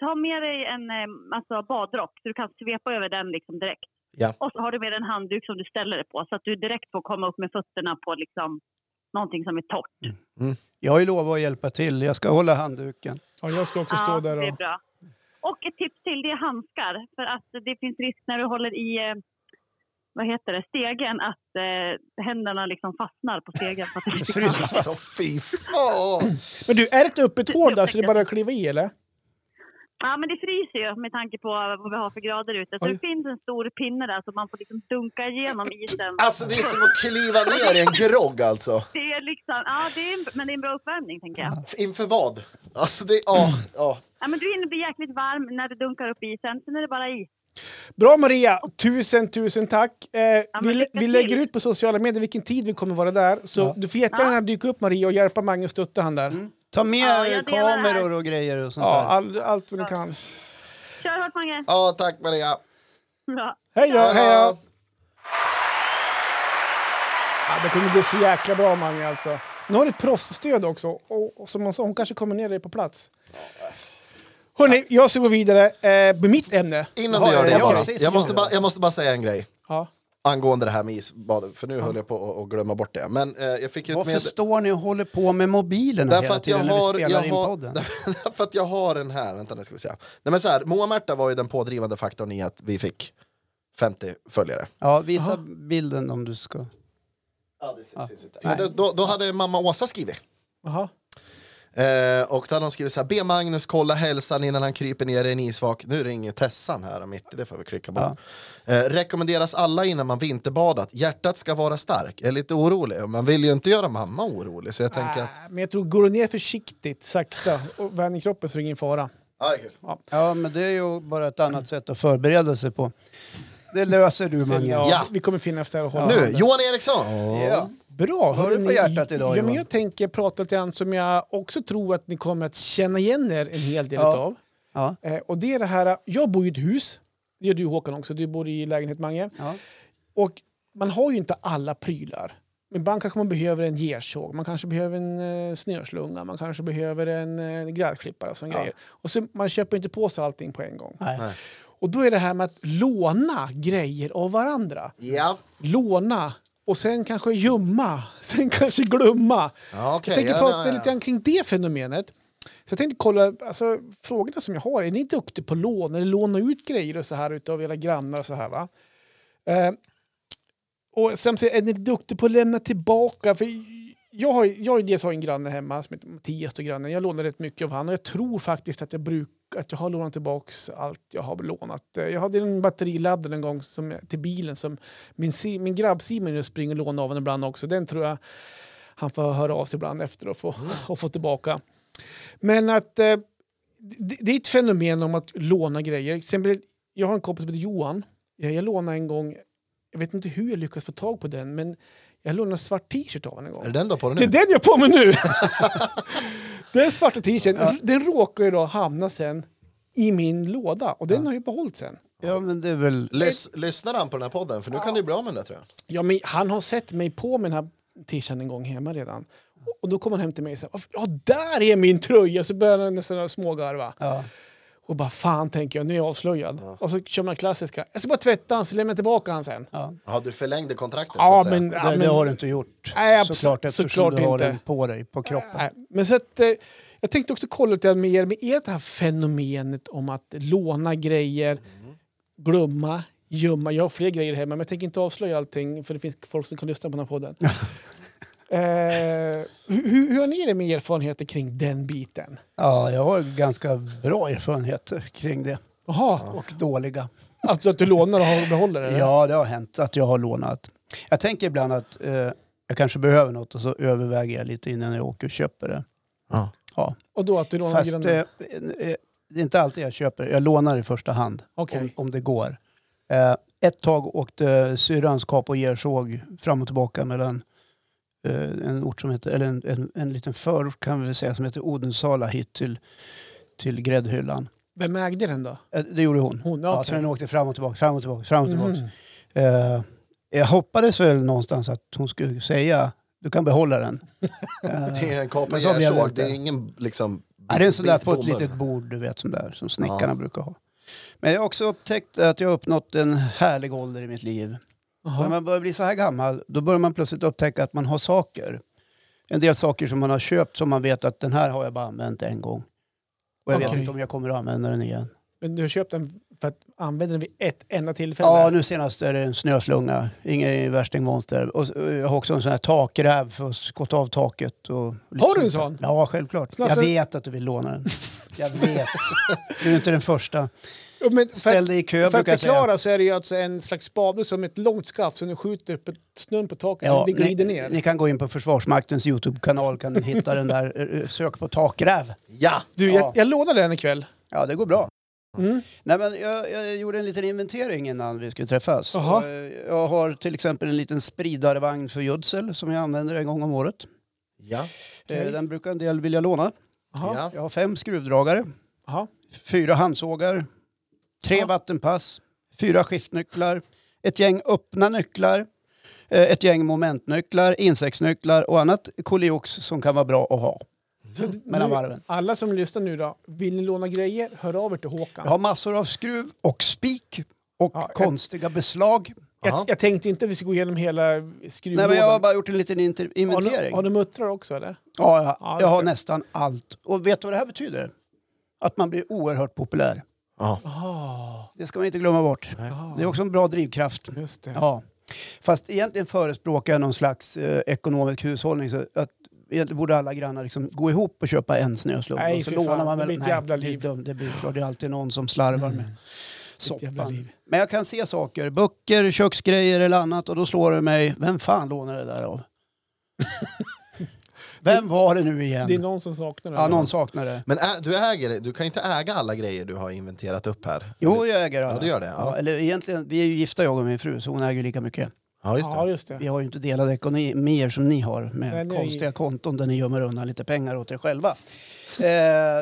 ta med dig en eh, alltså, badrock så du kan svepa över den liksom, direkt. Ja. Och så har du med dig en handduk som du ställer dig på så att du direkt får komma upp med fötterna på liksom, någonting som är torrt. Jag har ju lovat att hjälpa till. Jag ska hålla handduken. Ja, jag ska också Ja, stå där det är och... bra. Och ett tips till det är handskar. För att det finns risk när du håller i eh, vad heter det, stegen att eh, händerna liksom fastnar på stegen. för att det inte kan- Fryser Alltså fy fan! Men du, är det ett öppet hål där så det är bara att kliva i eller? Ja, men det fryser ju med tanke på vad vi har för grader ute. Så Oj. det finns en stor pinne där så man får liksom dunka igenom isen. Alltså det är som att kliva ner i en grogg alltså. Det är liksom, ja, det är, en- men det är en bra uppvärmning tänker jag. Inför vad? Alltså det, ja, ja. Ja, men du hinner bli jäkligt varm när du dunkar upp isen, sen är det bara i. Bra Maria! Tusen, tusen tack! Eh, vi, lycka lä- vi till. lägger ut på sociala medier vilken tid vi kommer vara där. Så Ja. du får jättegärna Ja. dyka upp Maria och hjälpa Mange och stötta han där. Ta med Ja, jag delar det här. kameror och grejer och sånt Ja, där. all, allt vad du kan. Kör hårt Mange! ja tack Maria. Bra. Hej då! Hej då! Ja, det kommer gå så jäkla bra Mange alltså. Nu har du ett proffsstöd också. Och, och som hon sa, hon kanske kommer ner dig på plats. Hörni, jag ska gå vidare eh, med mitt ämne. Innan Jaha, du gör är det det jag bara. sist Jag måste nu? bara, jag måste bara säga en grej. Ja. angående det här med isbadet, för nu höll jag på att- att glömma bort det. Men eh, jag fick ju ett Varför med... står ni och håller på med mobilerna Därför hela att jag tiden när har, vi jag spelar in har, podden? därför att jag har den här, vänta nu ska vi se. Nej men så här, Moa Märta var ju den pådrivande faktorn i att vi fick 50 följare. Ja, visa bilden om du ska. Ja, det syns inte. Så då- då, då hade mamma Åsa skrivit. Jaha. Eh, och då hade hon skrivit så här, be Magnus kolla hälsan innan han kryper ner i en isvak. Nu ringer Tessan här mitt i, det får vi klicka bort. Eh, rekommenderas alla innan man vinterbadat. Hjärtat ska vara stark. Jag är lite orolig, man vill ju inte göra mamma orolig. Så jag tänker att, Ah, Men jag tror, går du ner försiktigt, sakta och vänjer kroppen så är det ingen fara. ja, det är kul. Ja, men det är ju bara ett annat sätt att förbereda sig på. Det löser du, Mange. Ja, Ja. Vi kommer finnas där och hålla Nu, handen. Johan Eriksson! Ja. Bra! Har du hörni. på hjärtat idag, ja, men Johan? Jag tänker prata lite grann som jag också tror att ni kommer att känna igen er en hel del Ja. utav. Ja. Eh, och det är det här, jag bor i ett hus, det gör du Håkan också, du bor i lägenhet Mange. Ja. Och man har ju inte alla prylar. Men Ibland kanske man behöver en gersåg, man kanske behöver en eh, snörslunga, man kanske behöver en eh, gräsklippare och såna grejer. Och så, man köper inte på sig allting på en gång. Nej. Och då är det här med att låna grejer av varandra. Ja, Låna och sen kanske gömma, sen kanske glömma. ja okej. Jag tänker ja, prata ja, ja. lite grann kring det fenomenet. Så jag tänkte kolla, alltså, frågorna som jag har, är ni duktiga på lån eller låna ut grejer och så här utav era grannar och så här va? Eh, och sen så är ni duktiga på att lämna tillbaka? För jag har, jag har ju dels har en granne hemma som heter Mattias och grannen, jag lånar rätt mycket av han och jag tror faktiskt att jag bruk, att jag har lånat tillbaks allt jag har lånat. Eh, Jag hade en batteriladdare en gång som, till bilen som min, si- min grabb Simon nu springer och lånar av den ibland också. Den tror jag han får höra av sig ibland efter och få, och få tillbaka. Men att eh, det, det är ett fenomen om att låna grejer. Till exempel, jag har en kompis som heter Johan. Jag, jag lånade en gång, jag vet inte hur jag lyckades få tag på den, men jag lånade en svart t-shirt av honom en gång. Är det den då på den Det är nu? den jag har på mig nu! den svarta t-shirten, den råkar ju då hamna sen i min låda och den har ju behållit sen. ja, men det är väl... Lys, lyssnar han på den här podden? För nu kan du bli av med den där tröjan. Ja, men han har sett mig på med den här t-shirten en gång hemma redan. Och- Och då kom han hem till mig och sa "Varför- ja där är min tröja! Så började han nästan smågarva. Ja. Och bara fan tänker jag, nu är jag avslöjad. Ja. Och så kör man klassiska. Jag ska bara tvätta han så lämnar jag tillbaka han sen. Ja. Ja, du förlängde kontraktet Ja så att men, säga. Det, ja, men, det har du inte gjort Nej, absolut- såklart eftersom såklart du har inte. den på dig, på kroppen. Nej, men så att, eh, jag tänkte också kolla lite med er, med er det här fenomenet om att låna grejer, glömma, gömma. Jag har fler grejer hemma men jag tänker inte avslöja allting för det finns folk som kan lyssna på den här podden. eh, hur, hur hur har ni det med erfarenheter kring den biten? Ja, jag har ganska bra erfarenheter kring det. Jaha, Och dåliga. alltså att du lånar och har- behåller det? eller? Ja, det har hänt att jag har lånat. Jag tänker ibland att eh, jag kanske behöver något och så överväger jag lite innan jag åker och köper det. Ja. Ja. Och då att du lånar Fast eh, grannen? eh, det är inte alltid jag köper. Jag lånar i första hand Okej. om, om det går. Eh, ett tag åkte syrrans kap och gersåg fram och tillbaka mellan eh, en ort som heter, eller en, en, en liten förort kan vi väl säga som heter Odensala hit till, till gräddhyllan. Vem ägde den då? Eh, det gjorde hon. Hon? Ja, okej. så den åkte fram och tillbaka, fram och tillbaka, fram och tillbaka. Mhm. Eh, jag hoppades väl någonstans att hon skulle säga du kan behålla den. Eh, Det är en kapa Men så blev det järnsåg, inte. det är ingen liksom... Ja, det är en sån där bit på ett bomull. litet bord du vet, sån där, som snickarna Ja. brukar ha. Men jag har också upptäckt att jag har uppnått en härlig ålder i mitt liv. Och När Jaha. man börjar bli så här gammal, då börjar man plötsligt upptäcka att man har saker. En del saker som man har köpt som man vet att den här har jag bara använt en gång. Och jag vet Okej. inte om jag kommer att använda den igen. Men du har köpt den för att använda den vid ett enda tillfälle? Ja, nu senast är det en snöslunga. Ingen värstingmonster. Och eh, jag har också en sån här takräv för att skotta av taket. Och lite Har du en sånt sån? där. Ja, självklart. Snasar- Jag vet att du vill låna den. Jag vet. Du är inte den första. Ja, men för att- Ställ dig i kö För att brukar jag säga. förklara så är det ju alltså en slags spade som ett långt skaft som du skjuter upp ett snön på taket Ja, så det glider ni, ner. ni kan gå in på Försvarsmaktens Youtube-kanal kan ni hitta den där. eh, Sök på takräv. Ja! du, ja. jag, jag lånar den ikväll. Ja, det går bra. Mm. Nej, men jag, jag gjorde en liten inventering innan vi skulle träffas. Jaha. Och, eh, Jag har till exempel en liten spridarvagn för gödsel som jag använder en gång om året. Ja. Eh, Okej. Den brukar en del vilja låna. Jaha. ja. Jag har fem skruvdragare, Jaha. fyra handsågar, tre Ja. vattenpass, fyra skiftnycklar, ett gäng öppna nycklar, eh, ett gäng momentnycklar, insektsnycklar och annat koliox som kan vara bra att ha Så Mm, mellan nu, varven. alla som lyssnar nu då, vill ni låna grejer, hör av er till Håkan. Jag har massor av skruv och spik och Ja, jag- konstiga beslag. Aha. Jag, jag tänkte inte att vi skulle gå igenom hela Nej, skruvlådan. men jag har bara gjort en liten inter- har, du, inventering. har du muttrar också eller? Ja, jag, Ja, jag just har det. nästan allt. Och vet du vad det här betyder? Att man blir oerhört populär. Ja. Ja, Det ska man inte glömma bort. Det är också en bra drivkraft. just det. Ja. Fast egentligen förespråkar jag någon slags eh, ekonomisk hushållning. Så att egentligen borde alla grannar liksom gå ihop och köpa en snöslunga. Nej, och så fy lånar fan, man det väl blir ett nej, jävla liv. Mm. Det, blir dumt. det blir klart, det är alltid någon som slarvar med jävla soppan. liv. Men jag kan se saker, böcker, köksgrejer eller annat och då slår det mig, vem fan lånar det där av? vem var det nu igen? Det är någon som saknar den. Ja, någon saknar det. Men ä, du äger, du kan inte äga alla grejer du har inventerat upp här. Jo, jag äger alla. Ja, du gör det, ja. eller egentligen, vi är ju gifta jag och min fru, så hon äger ju lika mycket. Ja, just det. Ja, just det. Vi har ju inte delade ekonomier som ni har med Nej, nej. konstiga konton där ni gömmer undan lite pengar åt er själva. Eh,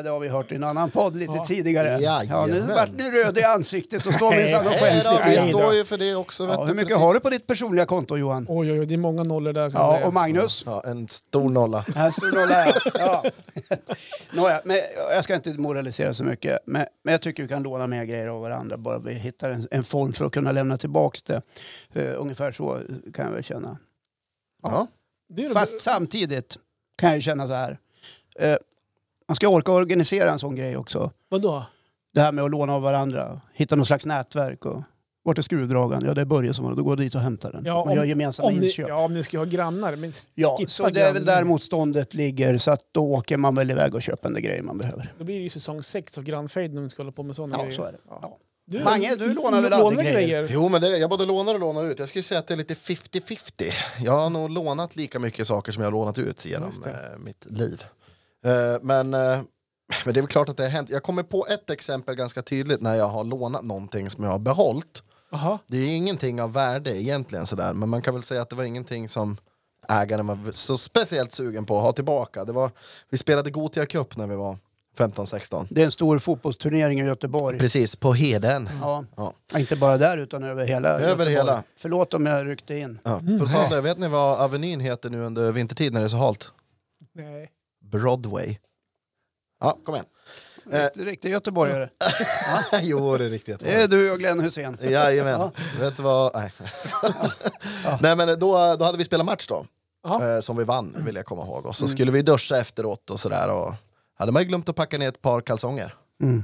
det har vi hört i en annan podd lite Ja. tidigare. Ja, nu Jajamän. vart ni röd i ansiktet och står minsann och Nej, skäms då, lite. vi Nej, då. står ju för det också. Vet Ja, du, hur mycket precis. har du på ditt personliga konto Johan? Oj, oj, oj, det är många nollor där kan jag Ja, säga. och Magnus? Ja, en stor nolla. Här står det och lär. Ja. Nåja, men jag ska inte moralisera så mycket. Men, men jag tycker vi kan låna mer grejer av varandra bara vi hittar en, en form för att kunna lämna tillbaka det. Eh, ungefär så kan jag väl känna. Ja. Det är de- Fast samtidigt kan jag ju känna så här. Eh, man ska orka organisera en sån grej också. Vadå? Det här med att låna av varandra. Hitta någon slags nätverk. Och, vart är skruvdragaren? Ja, det är Börje som har det. Då går jag dit och hämtar den. Ja, man om- gör gemensamma Om ni, inköp. Ja, ja, om ni ska ha grannar. Men s- skippa så det är väl grannar. där motståndet ligger. Så att då åker man väl iväg och köper den grejer man behöver. Då blir det ju säsong 6 av Grannfejden om vi ska hålla på med sådana Ja, grejer. så är det. Ja. Du, Mange, du lånar väl aldrig grejer? Jo, men det, jag både lånar och lånar ut. Jag skulle säga att det är lite 50-50. Jag har nog lånat lika mycket saker som jag har lånat ut genom Just det. eh, mitt liv. Eh, men, eh, men det är väl klart att det har hänt. Jag kommer på ett exempel ganska tydligt när jag har lånat någonting som jag har behållit. Jaha. Det är ingenting av värde egentligen sådär, men man kan väl säga att det var ingenting som ägaren var så speciellt sugen på att ha tillbaka. Det var, vi spelade Gothia Cup när vi var 15-16. Det är en stor fotbollsturnering i Göteborg. Precis, på Heden. Ja. Ja. Ja, Inte bara där utan över hela Över Göteborg. hela. Förlåt om jag ryckte in. Ja. På tal om det, vet ni vad Avenyn heter nu under vintertid när det är så halt? Nej. Broadway. Ja, kom igen. Rikt- Riktig göteborgare. jo, det är riktigt. Det är du och Glenn Hussein. Jajamän. Vet du vad? Nej. Nej men då, då hade vi spelat match då. Ja. Mm. Eh, som vi vann vill jag komma ihåg. Och så skulle vi duscha efteråt och sådär. Och hade man ju glömt att packa ner ett par kalsonger.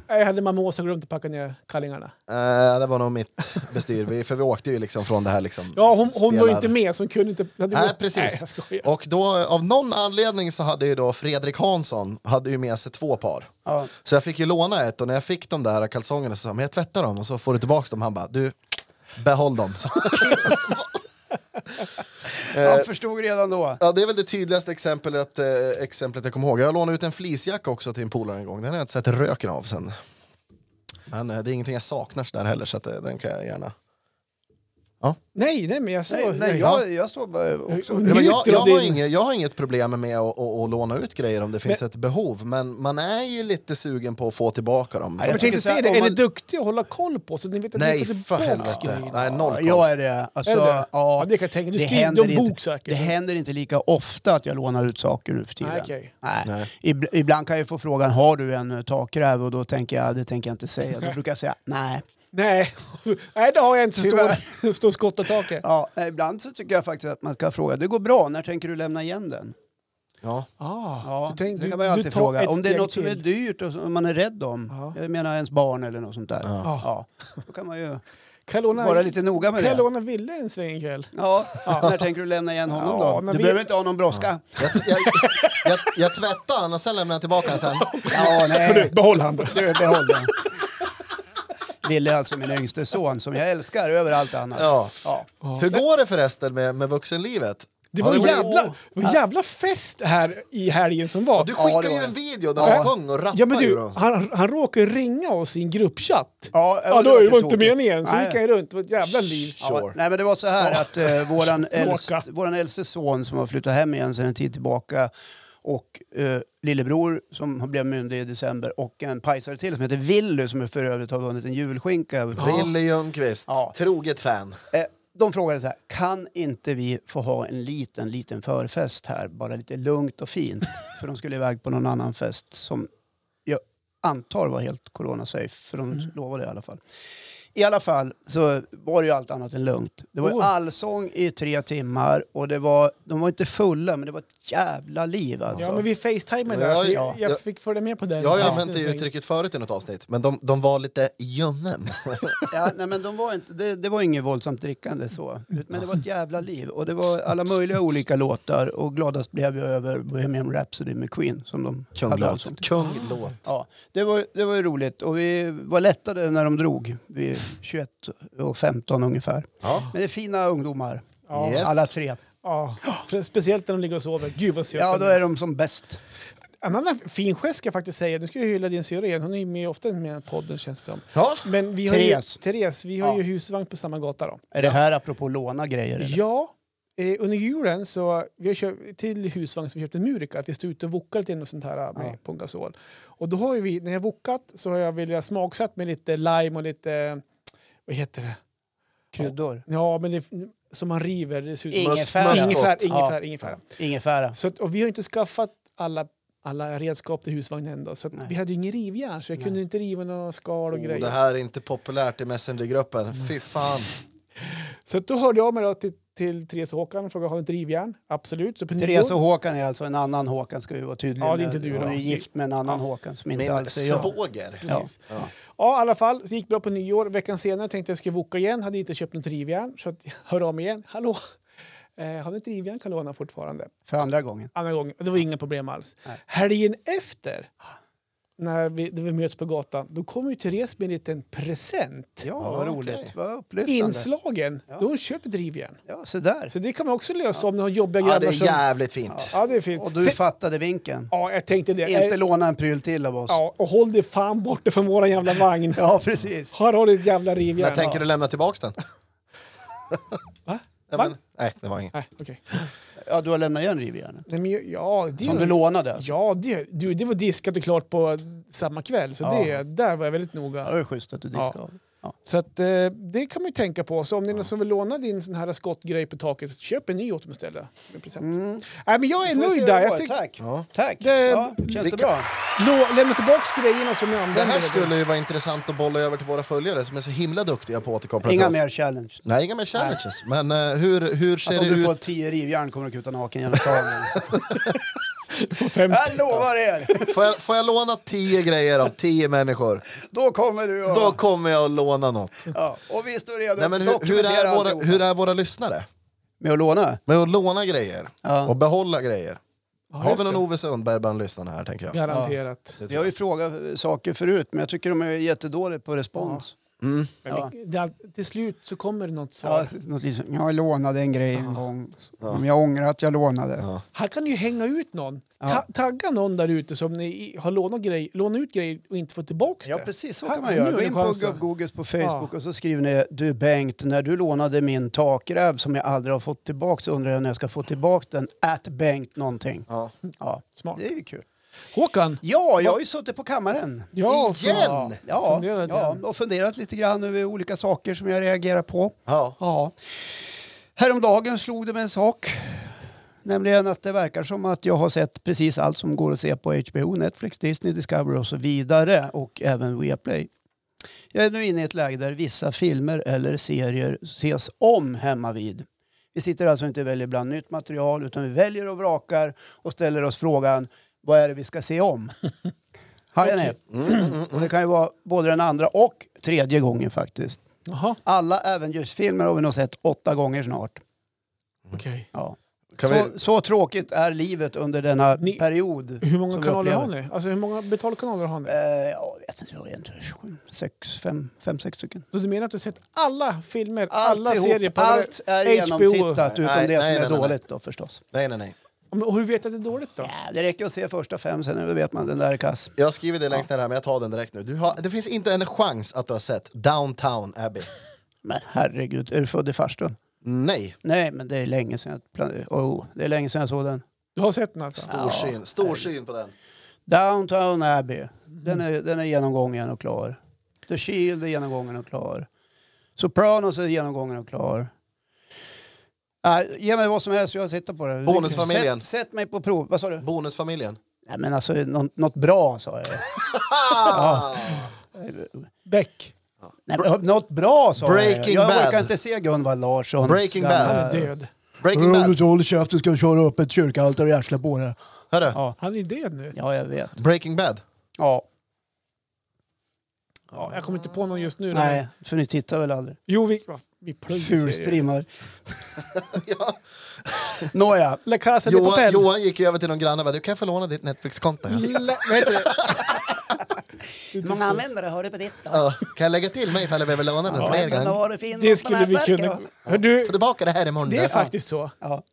Jag hade mamma Åsa glömt att packa ner kallingarna. Eh, det var nog mitt bestyr. Vi, för vi åkte ju liksom från det här liksom. Ja, hon, hon var ju spelar- inte med så hon kunde inte... Hade Nej, gått- precis. Nej, jag skojar. Och då av någon anledning så hade ju då Fredrik Hansson hade ju med sig två par. Ja. Så jag fick ju låna ett och när jag fick de där kalsongerna så sa jag, men jag tvättar dem och så får du tillbaka dem. Han bara, du behåll dem. Så. Eh. Han förstod redan då. Ja, det är väl det tydligaste exemplet, eh, exemplet jag kommer ihåg. Jag lånade ut en fleecejacka också till en polare en gång. Den har jag inte sett röken av sen. Men eh, det är ingenting jag saknar så där heller så att, eh, den kan jag gärna... Nej, nej, men jag sa... Nej, nej, ja. jag, jag står bara också... Ja, men jag, Njuter av jag, har din- inget, jag har inget problem med att, att, att låna ut grejer om det finns ett behov. Men man är ju lite sugen på att få tillbaka dem. Nej, Jag Jag tänkte tycker så här, säga det, om är man- ni duktiga att hålla koll på så ni vet att ni Nej, får för tillbaka helvete. grejerna? Nej, noll koll. Jag är det. Alltså, Är det det? Ja, Ja, det kan jag tänka. Du det skriver händer du en bok inte, säkert. Det händer inte lika ofta att jag lånar ut saker nu för tiden. Nej, okej. Nej. Nej. Ib- Ibland kan jag få frågan, har du en eh, takräv? Och då tänker jag, det tänker jag inte säga. Då brukar jag säga, nej. Nej. nej, det har jag inte så Tyvärr. stor, stor skott att taket. Ja, eh, ibland så tycker jag faktiskt att man ska fråga, det går bra, när tänker du lämna igen den? Ja. Ah, Ja, du tänk- det du- kan man ju du alltid tar fråga. ett Om det är steg något som är till. dyrt och som man är rädd om, Ja. jag menar ens barn eller något sånt där. Ja. Ja. Då kan man ju Kan jag låna- vara lite noga med Kan jag det. låna Ville en sväng ikväll? Ja, när tänker du lämna igen honom Ja, då? men Du vi- behöver inte ha någon brådska. Jag, jag, jag, jag tvättar han och sen lämnar jag tillbaka han sen. Ja, nej. Behåll handen. Du, behåll den. Ville är alltså min yngste son som jag älskar över allt annat. Ja. Ja. Hur går det förresten med, med vuxenlivet? Det Har var en blivit- jävla, det var en jävla fest här i helgen som var. Du Ja, det skickade var ju det. en video där han sjöng och rappade ja, men ju du, då. han, han råkade ringa oss i en gruppchatt. Ja, Ja, det då var var lite inte tokigt. meningen. Så Nej. alltså. gick han ju runt. Det var ett jävla liv. Ja, Sure. nej, men det var så här att eh, våran, äldst, Bråka. våran äldste son som har flyttat hem igen sedan en tid tillbaka och eh, lillebror som blev myndig i december och en pajsare till som heter Willy som för övrigt har vunnit en julskinka. Wille Ljungqvist, Ja. troget fan. Eh, De frågade så här, kan inte vi få ha en liten, liten förfest här? Bara lite lugnt och fint. För de skulle iväg på någon annan fest som jag antar var helt corona-safe. För de Mm. lovade i alla fall. I alla fall så var det ju allt annat än lugnt. Det var ju Oj. allsång i tre timmar och det var, de var inte fulla men det var ett jävla liv alltså. Ja, men vi facetimade där. Ja, ja. så jag, jag Ja. fick följa med på den. Jag har ju Ja. använt det uttrycket förut i något avsnitt, men de, de var lite ljummen. Ja, nej, men de var inte, det, det var inget våldsamt drickande så. Men det var ett jävla liv. Och det var alla möjliga olika låtar. Och gladast blev jag över Bohemian Rhapsody med Queen. Som de hade allsång till. Kunglåt. Ja, det var, det var ju roligt. Och vi var lättade när de drog. Vid 21 och 15 ungefär. Ja. Men det är fina ungdomar. Ja. Yes. Alla tre. Ja. För- Speciellt när de ligger och sover. Gud vad söt Ja, den då är de som bäst. En annan fin gest ska jag faktiskt säga. Nu ska jag hylla din syrra igen. Hon är ju med ofta med i podden känns det som. Ja. Men vi har ju, Therese. Therese, vi har Ja. ju husvagn på samma gata då. Är det här apropå låna grejer? Eller? Ja, eh, under julen så, vi har köpt, till husvagn så vi köpte Murica, att vi stod ute och wokade lite och sånt här med, på en gasol. Och då har ju vi, när jag wokat så har jag velat smaksatt med lite lime och lite, eh, vad heter det? Kryddor? Ja, men det, som man river. Det ser ut som- Ingefära. Ingefära, Ja. ingefära, ingefära. Ingefära? Så att, och vi har ju inte skaffat alla, alla redskap till husvagnen ändå. Så att vi hade ju ingen rivjärn så jag kunde inte riva några skal och Oh, grejer. det här är inte populärt i Messengergruppen. Fy fan. Så att då hörde jag av mig då till, till Therese och Håkan och frågade har du inte rivjärn? Absolut. Så på Therese nyår- och Håkan är alltså en annan Håkan ska vi vara tydliga Ja, det är med. inte du Hon är då. ju gift med en annan Håkan som inte Min alls är jag. svåger. Ja. Ja, i alla fall. Så gick bra på nyår. Veckan senare tänkte jag skulle woka igen. Hade inte köpt något rivjärn. Så att, hör av mig igen. Hallå! Eh, har ni inte rivjärn kan låna fortfarande. För andra gången. Andra gången. Det var inga problem alls. Helgen efter, när vi, när vi möts på gatan, då kommer ju Therese med en liten present. Ja, Ja, vad okej. roligt. Vad upplyftande. Inslagen. Då har hon köpt ett rivjärn. ja, så där. Så det kan man också lösa om ni har jobbiga Ja, grannar det är som... jävligt fint. Ja, det är fint. Och du Se- fattade vinken. Ja, jag tänkte det. Inte Är- låna en pryl till av oss. Ja, Ja, och håll dig fan borta från våra jävla vagn. precis. Här har du ett jävla rivjärn. När tänker du lämna tillbaka den? Va? Nej, Va? men, nej det var inget. Nej, okej. Ja, du har lämnat igen rivjärnet. Nej, men ju- ja, det Som du gör, lånade alltså. Mm. ja, det, gör- du, det var diskat och klart på samma kväll, så det, där var jag väldigt Ja, noga. det är schysst att du diskade Ja. av. Ja. Så att, eh, det kan man ju tänka på. Så om det är någon som vill låna din sån här skottgrej på taket, köp en ny åt dem istället. med present. Nej, men jag är Mm. Får vi se nöjd hur där. det Jag går. tyck- Tack! Ja. Tack! Det- ja, känns Vilka- det bra? Lå- lämna tillbaka grejerna som jag Det använder. här skulle ju vara intressant att bolla över till våra följare som är så himla duktiga på att återkoppla till Inga oss. mer challenge. Nej, inga mer challenges. Men eh, hur, hur Att ser om det du ut? får tio rivjärn kommer du kuta naken genom tavlan. Få fem- Jag lovar er! Får jag, får jag låna tio grejer av tio människor? Då kommer du och... Då kommer jag att låna något. Ja, och vi står redo Nej, men hur, hur, är våra, hur är våra lyssnare? Med att låna? Med att låna grejer Ja. och behålla grejer. Har just vi någon det. Ove Sundberg bland lyssnarna här, tänker jag? Garanterat. Vi har ju frågat saker förut, men jag tycker de är jättedåliga på respons. Men Det, är all- till slut så kommer det något svar. Ja, något liksom, jag lånade en grej en gång. Om jag ångrar att jag lånade. Här kan ni ju hänga ut någon. Ja. Ta tagga någon där ute som ni i- har lånat, grej, lånat ut grejer och inte fått tillbaka Ja, det. precis så Här- kan man nu göra. är Gå det in på chansen. gubbgoogles på Facebook och så skriver ni Du Bengt, när du lånade min takräv som jag aldrig har fått tillbaka så undrar jag när jag ska få tillbaka den. At Bengt någonting. Ja. Ja, Smart. det är ju kul. Håkan! Ja, jag har ju suttit på kammaren. Ja, Igen! Ja, ja, Funderat ja, igen. och funderat lite grann över olika saker som jag reagerar på. Ja. Ja. Häromdagen slog det mig en sak. Nämligen att det verkar som att jag har sett precis allt som går att se på HBO, Netflix, Disney, Discovery och så vidare. Och även Viaplay. Jag är nu inne i ett läge där vissa filmer eller serier ses om hemma vid. Vi sitter alltså inte och väljer bland nytt material utan vi väljer och vrakar och ställer oss frågan vad är det vi ska se om? Hajar ni? Och det kan ju vara både den andra och tredje gången faktiskt. Jaha, Alla äventyrsfilmer har vi nog sett åtta gånger snart. okej. Ja. Kan så, vi- så tråkigt är livet under denna Ni- period. Hur många som vi kanaler har upplever. ni? Alltså hur många betalkanaler har ni? Eh, ja, jag vet inte, vad det är, inte, sju, sex, fem, fem, sex stycken. Så du menar att du sett alla filmer, alla Alltihop, serier på allt är HBO? genomtittat utom Nej, det som nej, är nej, nej. dåligt då förstås. Nej, nej, nej. Ja, men- Och hur vet jag att det är dåligt då? Ja, det räcker att se första fem, sen vet man den där är kass. Jag skriver det längst ner här, men jag tar den direkt nu. Du har, det finns inte en chans att du har sett Downtown Abbey. Men herregud, är du född i farstun? Nej. Nej, men det är länge sedan jag, plan- oh, det är länge sedan jag såg den. Du har sett den alltså? Stor syn. Stor syn på den. Downtown Abbey. Den är, den är genomgången och klar. The Shield är genomgången och klar. Sopranos är genomgången och klar. Äh, ge mig vad som helst, jag tittar på det. Bonusfamiljen. Sätt, sätt mig på prov. Vad sa du? Bonusfamiljen. Nej, men alltså, något, något bra sa jag. Ah! Beck. Nej, men, något bra sa Breaking jag. Jag orkar Bad. inte se Gunvald Larssons Breaking Bad. gamla- Han är död. Breaking Bad. håller käften ska jag köra upp ett kyrkaltare i arslet på det. Hörru, Ja. Han är död nu. Ja, jag vet. Breaking Bad. Ja. Ja, jag kommer inte på någon just nu. Nej, för ni tittar väl aldrig? Jo, vi, va, vi plöjer serier. Fulstrimmar. Nåja. La Casa de Johan, Papel. Johan gick ju över till någon granne och bara, du kan jag få låna ditt Netflix-konto? här?" La, vad heter det? Hur många användare har du på ditt då? Ja. Kan jag lägga till mig ifall jag behöver låna den fler Vad gånger? har du för Det innehåll på skulle vi kunna... nätverket? Hör du, Få tillbaka det här imorgon. det Ja. är faktiskt så. Ja.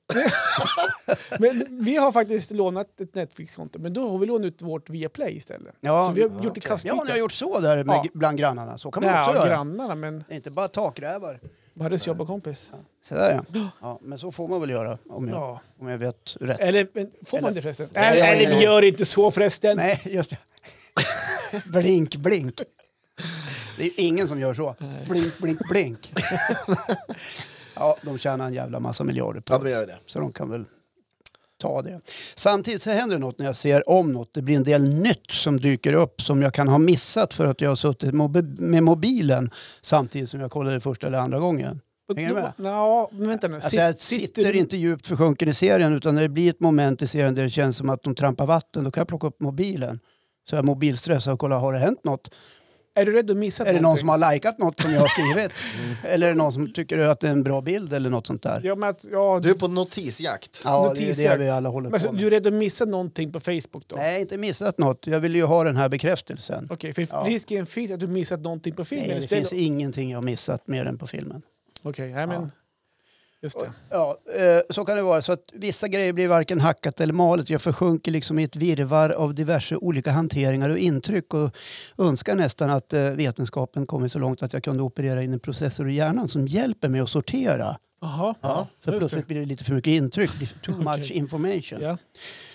Men vi har faktiskt lånat ett Netflix-konto, men då har vi lånat ut vårt Viaplay istället. Ja, så vi har ja, gjort det kastbyte. Ja, ni har gjort så där med, Ja. bland grannarna. Så kan man också Ja, göra. grannarna, men Det är Inte bara takrävar. Barres jobbarkompis. Så där, ja. ja. Men så får man väl göra om jag, Ja. om jag vet rätt. Eller, men, får man det förresten? Ja, ja, Eller, ja. vi gör inte så förresten. Nej, just det. blink, blink. Det är ju ingen som gör så. Blink, blink, blink. ja, de tjänar en jävla massa miljarder på Ja, de gör ju det. Så de kan väl ta det. Samtidigt så händer det något när jag ser om något. Det blir en del nytt som dyker upp som jag kan ha missat för att jag har suttit mobi- med mobilen samtidigt som jag kollade första eller andra gången. Hänger du med? Ja, men vänta nu. Alltså jag sitter inte djupt försjunken i serien utan när det blir ett moment i serien där det känns som att de trampar vatten då kan jag plocka upp mobilen. Så jag är mobilstressad och kollar, har det hänt något? Är du rädd att missa Är det någon som har likat något som jag har skrivit? Eller är det någon som tycker att det är en bra bild eller något sånt där? Mm. Ja, men att, ja, Du är på notisjakt. Ja, det är ju det notisjakt. vi alla håller men, så, på Du med. är rädd att missa någonting på Facebook då? Nej, inte missat något. Jag vill ju ha den här bekräftelsen. Okej, för Ja. risken finns att du missat någonting på filmen Nej, det istället. finns ingenting jag missat mer än på filmen. Okej, nej men... Just det. Ja, eh, så kan det vara. Så att vissa grejer blir varken hackat eller malet. Jag försjunker liksom i ett virvar av diverse olika hanteringar och intryck och önskar nästan att eh, vetenskapen kommit så långt att jag kunde operera in en processor i hjärnan som hjälper mig att sortera. Jaha. För just plötsligt blir det lite för mycket intryck, det blir too much Okej. information. Ja.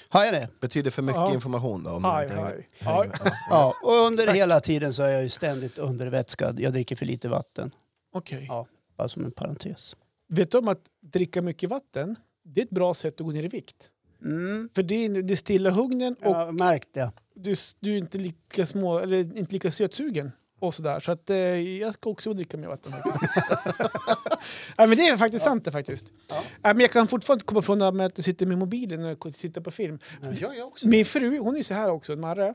Har jag det? Betyder för mycket Ja. information då? Om man Aj, inte hänger- aj, aj. Ja, och under hela tiden så är jag ju ständigt undervätskad. Jag dricker för lite vatten. Okej. Ja, bara som en parentes. Vet du om att dricka mycket vatten, det är ett bra sätt att gå ner i vikt. Mm, För det, är- det stillar hungern och jag har märkt det. du, du är inte lika, små, eller inte lika sötsugen. Och sådär. Så att, eh, jag ska också dricka mer vatten. Nej, men det är faktiskt sant det faktiskt. Nej, men jag kan fortfarande inte komma ifrån det här med att du sitter med mobilen när du tittar på film. Ja, jag också. Min fru, hon är så här också, Marre,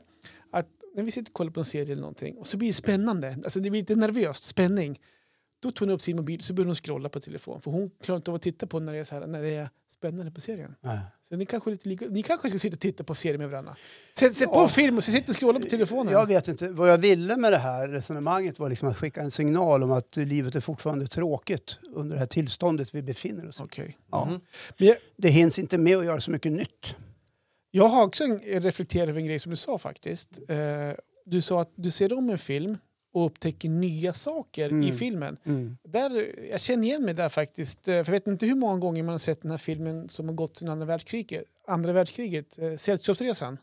att när vi sitter och kollar på en serie eller någonting och så blir det spännande, alltså det blir lite nervöst, spänning. Då tar hon upp sin mobil så börjar hon scrolla på telefon för hon klarar inte av att titta på när det är, så här, när det är spännande på serien. Nej. Så ni, kanske är lite lika, ni kanske ska sitta och titta på serier med varandra. Sätt, sätt på en film och så sitter och scrolla på telefonen. Jag vet inte. Vad jag ville med det här resonemanget var liksom att skicka en signal om att livet är fortfarande tråkigt under det här tillståndet vi befinner oss i. Okej. Mm. Ja. Men jag, Det hinns inte med att göra så mycket nytt. jag har också en, reflekterat över en grej som du sa faktiskt. Eh, du sa att du ser om en film och upptäcker nya saker i Mm. filmen. Där, jag känner igen mig där faktiskt. eh, För jag vet inte hur många gånger man har sett den här filmen som har gått sedan andra världskriget. Andra världskriget eh, Sällskapsresan.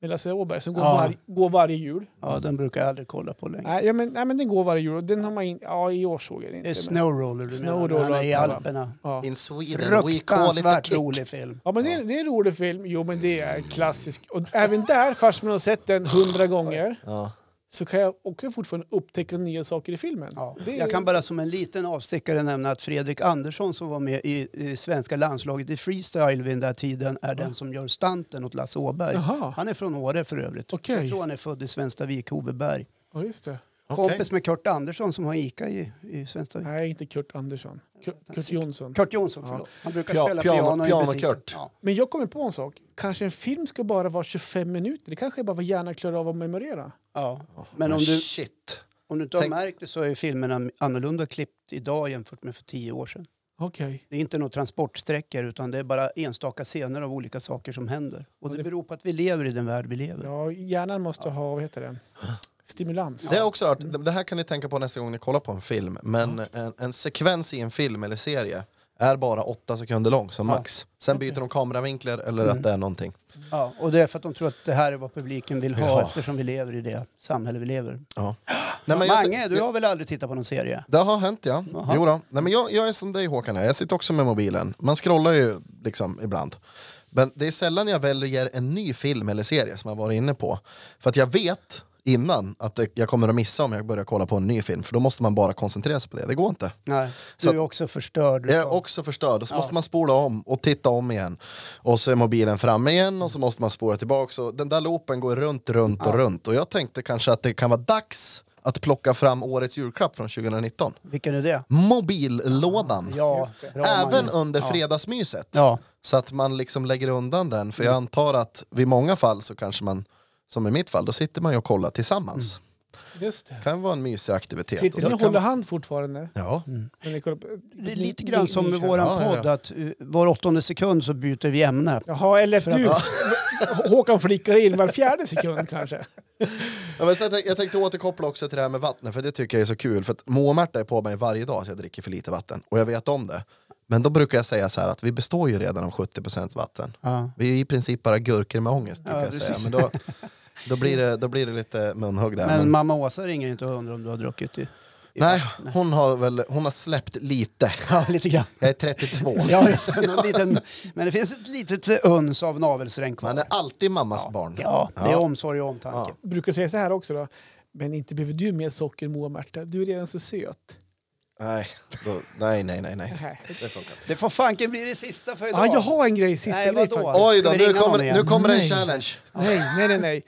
Med Lasse Åberg som går, Ja. var, går varje jul. Ja, den brukar jag aldrig kolla på längre. Nej, ja, men, nej, men den går varje jul. Och Den har man in, ja, i år såg jag den Det är inte. men- Snowroller du Snowroller menar, när han är i och allt, va? Alperna. Ja. In Sweden we call it a Fruktansvärt kick. rolig film. Ja, men det, är, det är en rolig film. Jo, men det är en klassisk. Och även där, fast man har sett den hundra gånger, Ja. så kan jag också fortfarande upptäcka nya saker i filmen. Ja. Det är- Jag kan bara som en liten avstickare nämna att Fredrik Andersson som var med i, i svenska landslaget i freestyle vid den där tiden är den som gör stanten åt Lasse Åberg. Jaha. Han är från Åre för övrigt. Okej. Jag tror han är född i Svenstavik, Hoveberg. Ja, just det. Okej. Kompis med Kurt Andersson som har Ica i, i Svenstavik. Nej, inte Kurt Andersson. Kurt, Kurt Jonsson. Kurt Jonsson, förlåt. Han brukar Pia- spela piano- piano, piano i butiken. Kurt. Ja. Men jag kommer på en sak. Kanske en film ska bara vara 25 minuter. Det kanske är bara vad hjärnan klarar av att memorera. Ja. Men om du, Shit. om du inte har Tänk- märkt det så är filmerna annorlunda klippt idag jämfört med för tio år sedan. Okej. Det är inte några transportsträckor utan det är bara enstaka scener av olika saker som händer. Och det beror på att vi lever i den värld vi lever. i. Ja, hjärnan måste ha, vad heter det? Stimulans. Det har jag också hört. Mm. Det här kan ni tänka på nästa gång ni kollar på en film. Men en, en sekvens i en film eller serie är bara åtta sekunder lång som max. Sen byter de kameravinklar eller Mm. att det är någonting. Ja, och det är för att de tror att det här är vad publiken vill ha Jaha. eftersom vi lever i det samhälle vi lever. i. Ja. Nej, men jag- Mange, du har väl aldrig tittat på någon serie? Det har hänt ja. Jo då. Nej, men jag, jag är som dig Håkan, här. jag sitter också med mobilen. Man scrollar ju liksom ibland. Men det är sällan jag väljer en ny film eller serie som jag varit inne på. För att jag vet innan att det, jag kommer att missa om jag börjar kolla på en ny film. För då måste man bara koncentrera sig på det, det går inte. Nej. Du Så- är också förstörd. Jag är utav- också förstörd, och så måste man spola om och titta om igen. Och så är mobilen framme igen och så måste man spola tillbaka. Så den där loopen går runt, runt och runt. Och jag tänkte kanske att det kan vara dags att plocka fram årets julklapp från 2019. Vilken är det? Mobillådan. Ja, bra, Även Mange. under fredagsmyset. Ja. Mm. Så att man liksom lägger undan den. För jag antar att vid många fall så kanske man, som i mitt fall, då sitter man ju och kollar tillsammans. Mm. Just det. Det kan vara en mysig aktivitet. Och Sitter så ni och kan- håller hand fortfarande? Ja. Mm. När ni kollar på- Det är lite grann som med Nykär. våran Ja, ja, ja. podd att eh, var åttonde sekund så byter vi ämne. Jaha, eller att du... Håkan flickar in var fjärde sekund kanske. Ja, men sen, tänk- jag tänkte återkoppla också till det här med vattnet, för det tycker jag är så kul. För att Moa och Märta är på mig varje dag att jag dricker för lite vatten, och jag vet om det. Men då brukar jag säga så här att vi består ju redan av 70% vatten. Ja. Vi är i princip bara gurkor med ångest, brukar Ja, jag säga. precis. Men då, då, blir det, då blir det lite munhugg där. Men Men, mamma Åsa ringer inte och undrar om du har druckit. i- nej, hon har, väl, hon har släppt lite. Ja, lite grann. Jag är 32. Ja, just det. Någon liten, men det finns ett litet eh, uns av navelsträng Man kvar. är alltid mammas barn. Ja, det är omsorg och omtanke. Brukar säga så här också då. Men inte behöver du mer socker Moa Märta, du är redan så söt. Nej, då, nej, nej, nej. nej. Nej. Det funkar inte. Det får fanken bli det sista för idag. Ja, Ah, jag har en grej, sista Nej, grej vadå? faktiskt. Oj då, Ska vi nu ringa någon kommer, igen? nu kommer en Nej. challenge. Nej, nej, nej. nej.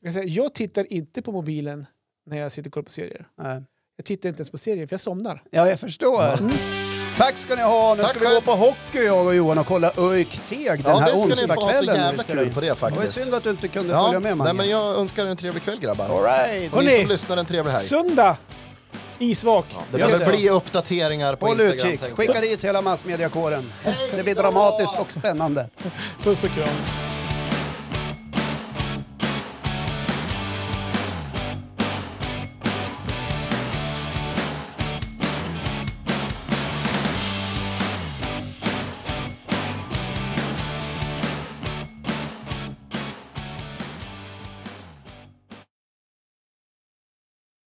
Jag, säger, jag tittar inte på mobilen när jag sitter och kollar på serier. Nej. Jag tittar inte ens på serier för jag somnar. Ja, jag förstår. Tack ska ni ha. Nu Tack ska vi själv. gå på hockey, jag och Johan, och kolla ÖIK Teg den Ja, här det ska ni få ha så onsdagskvällen. jävla kul Det på det var ju faktiskt. synd att du inte kunde Ja, följa med, nej, man. men jag önskar er en trevlig kväll grabbar. All right. Hörni. Ni som lyssnar en trevlig helg. Söndag! Isvak. Det Jag kommer ska- bli uppdateringar på Håll Instagram. utkik. tänk på. Skicka dit hela massmediakåren. Det blir dramatiskt och spännande. Puss och kram.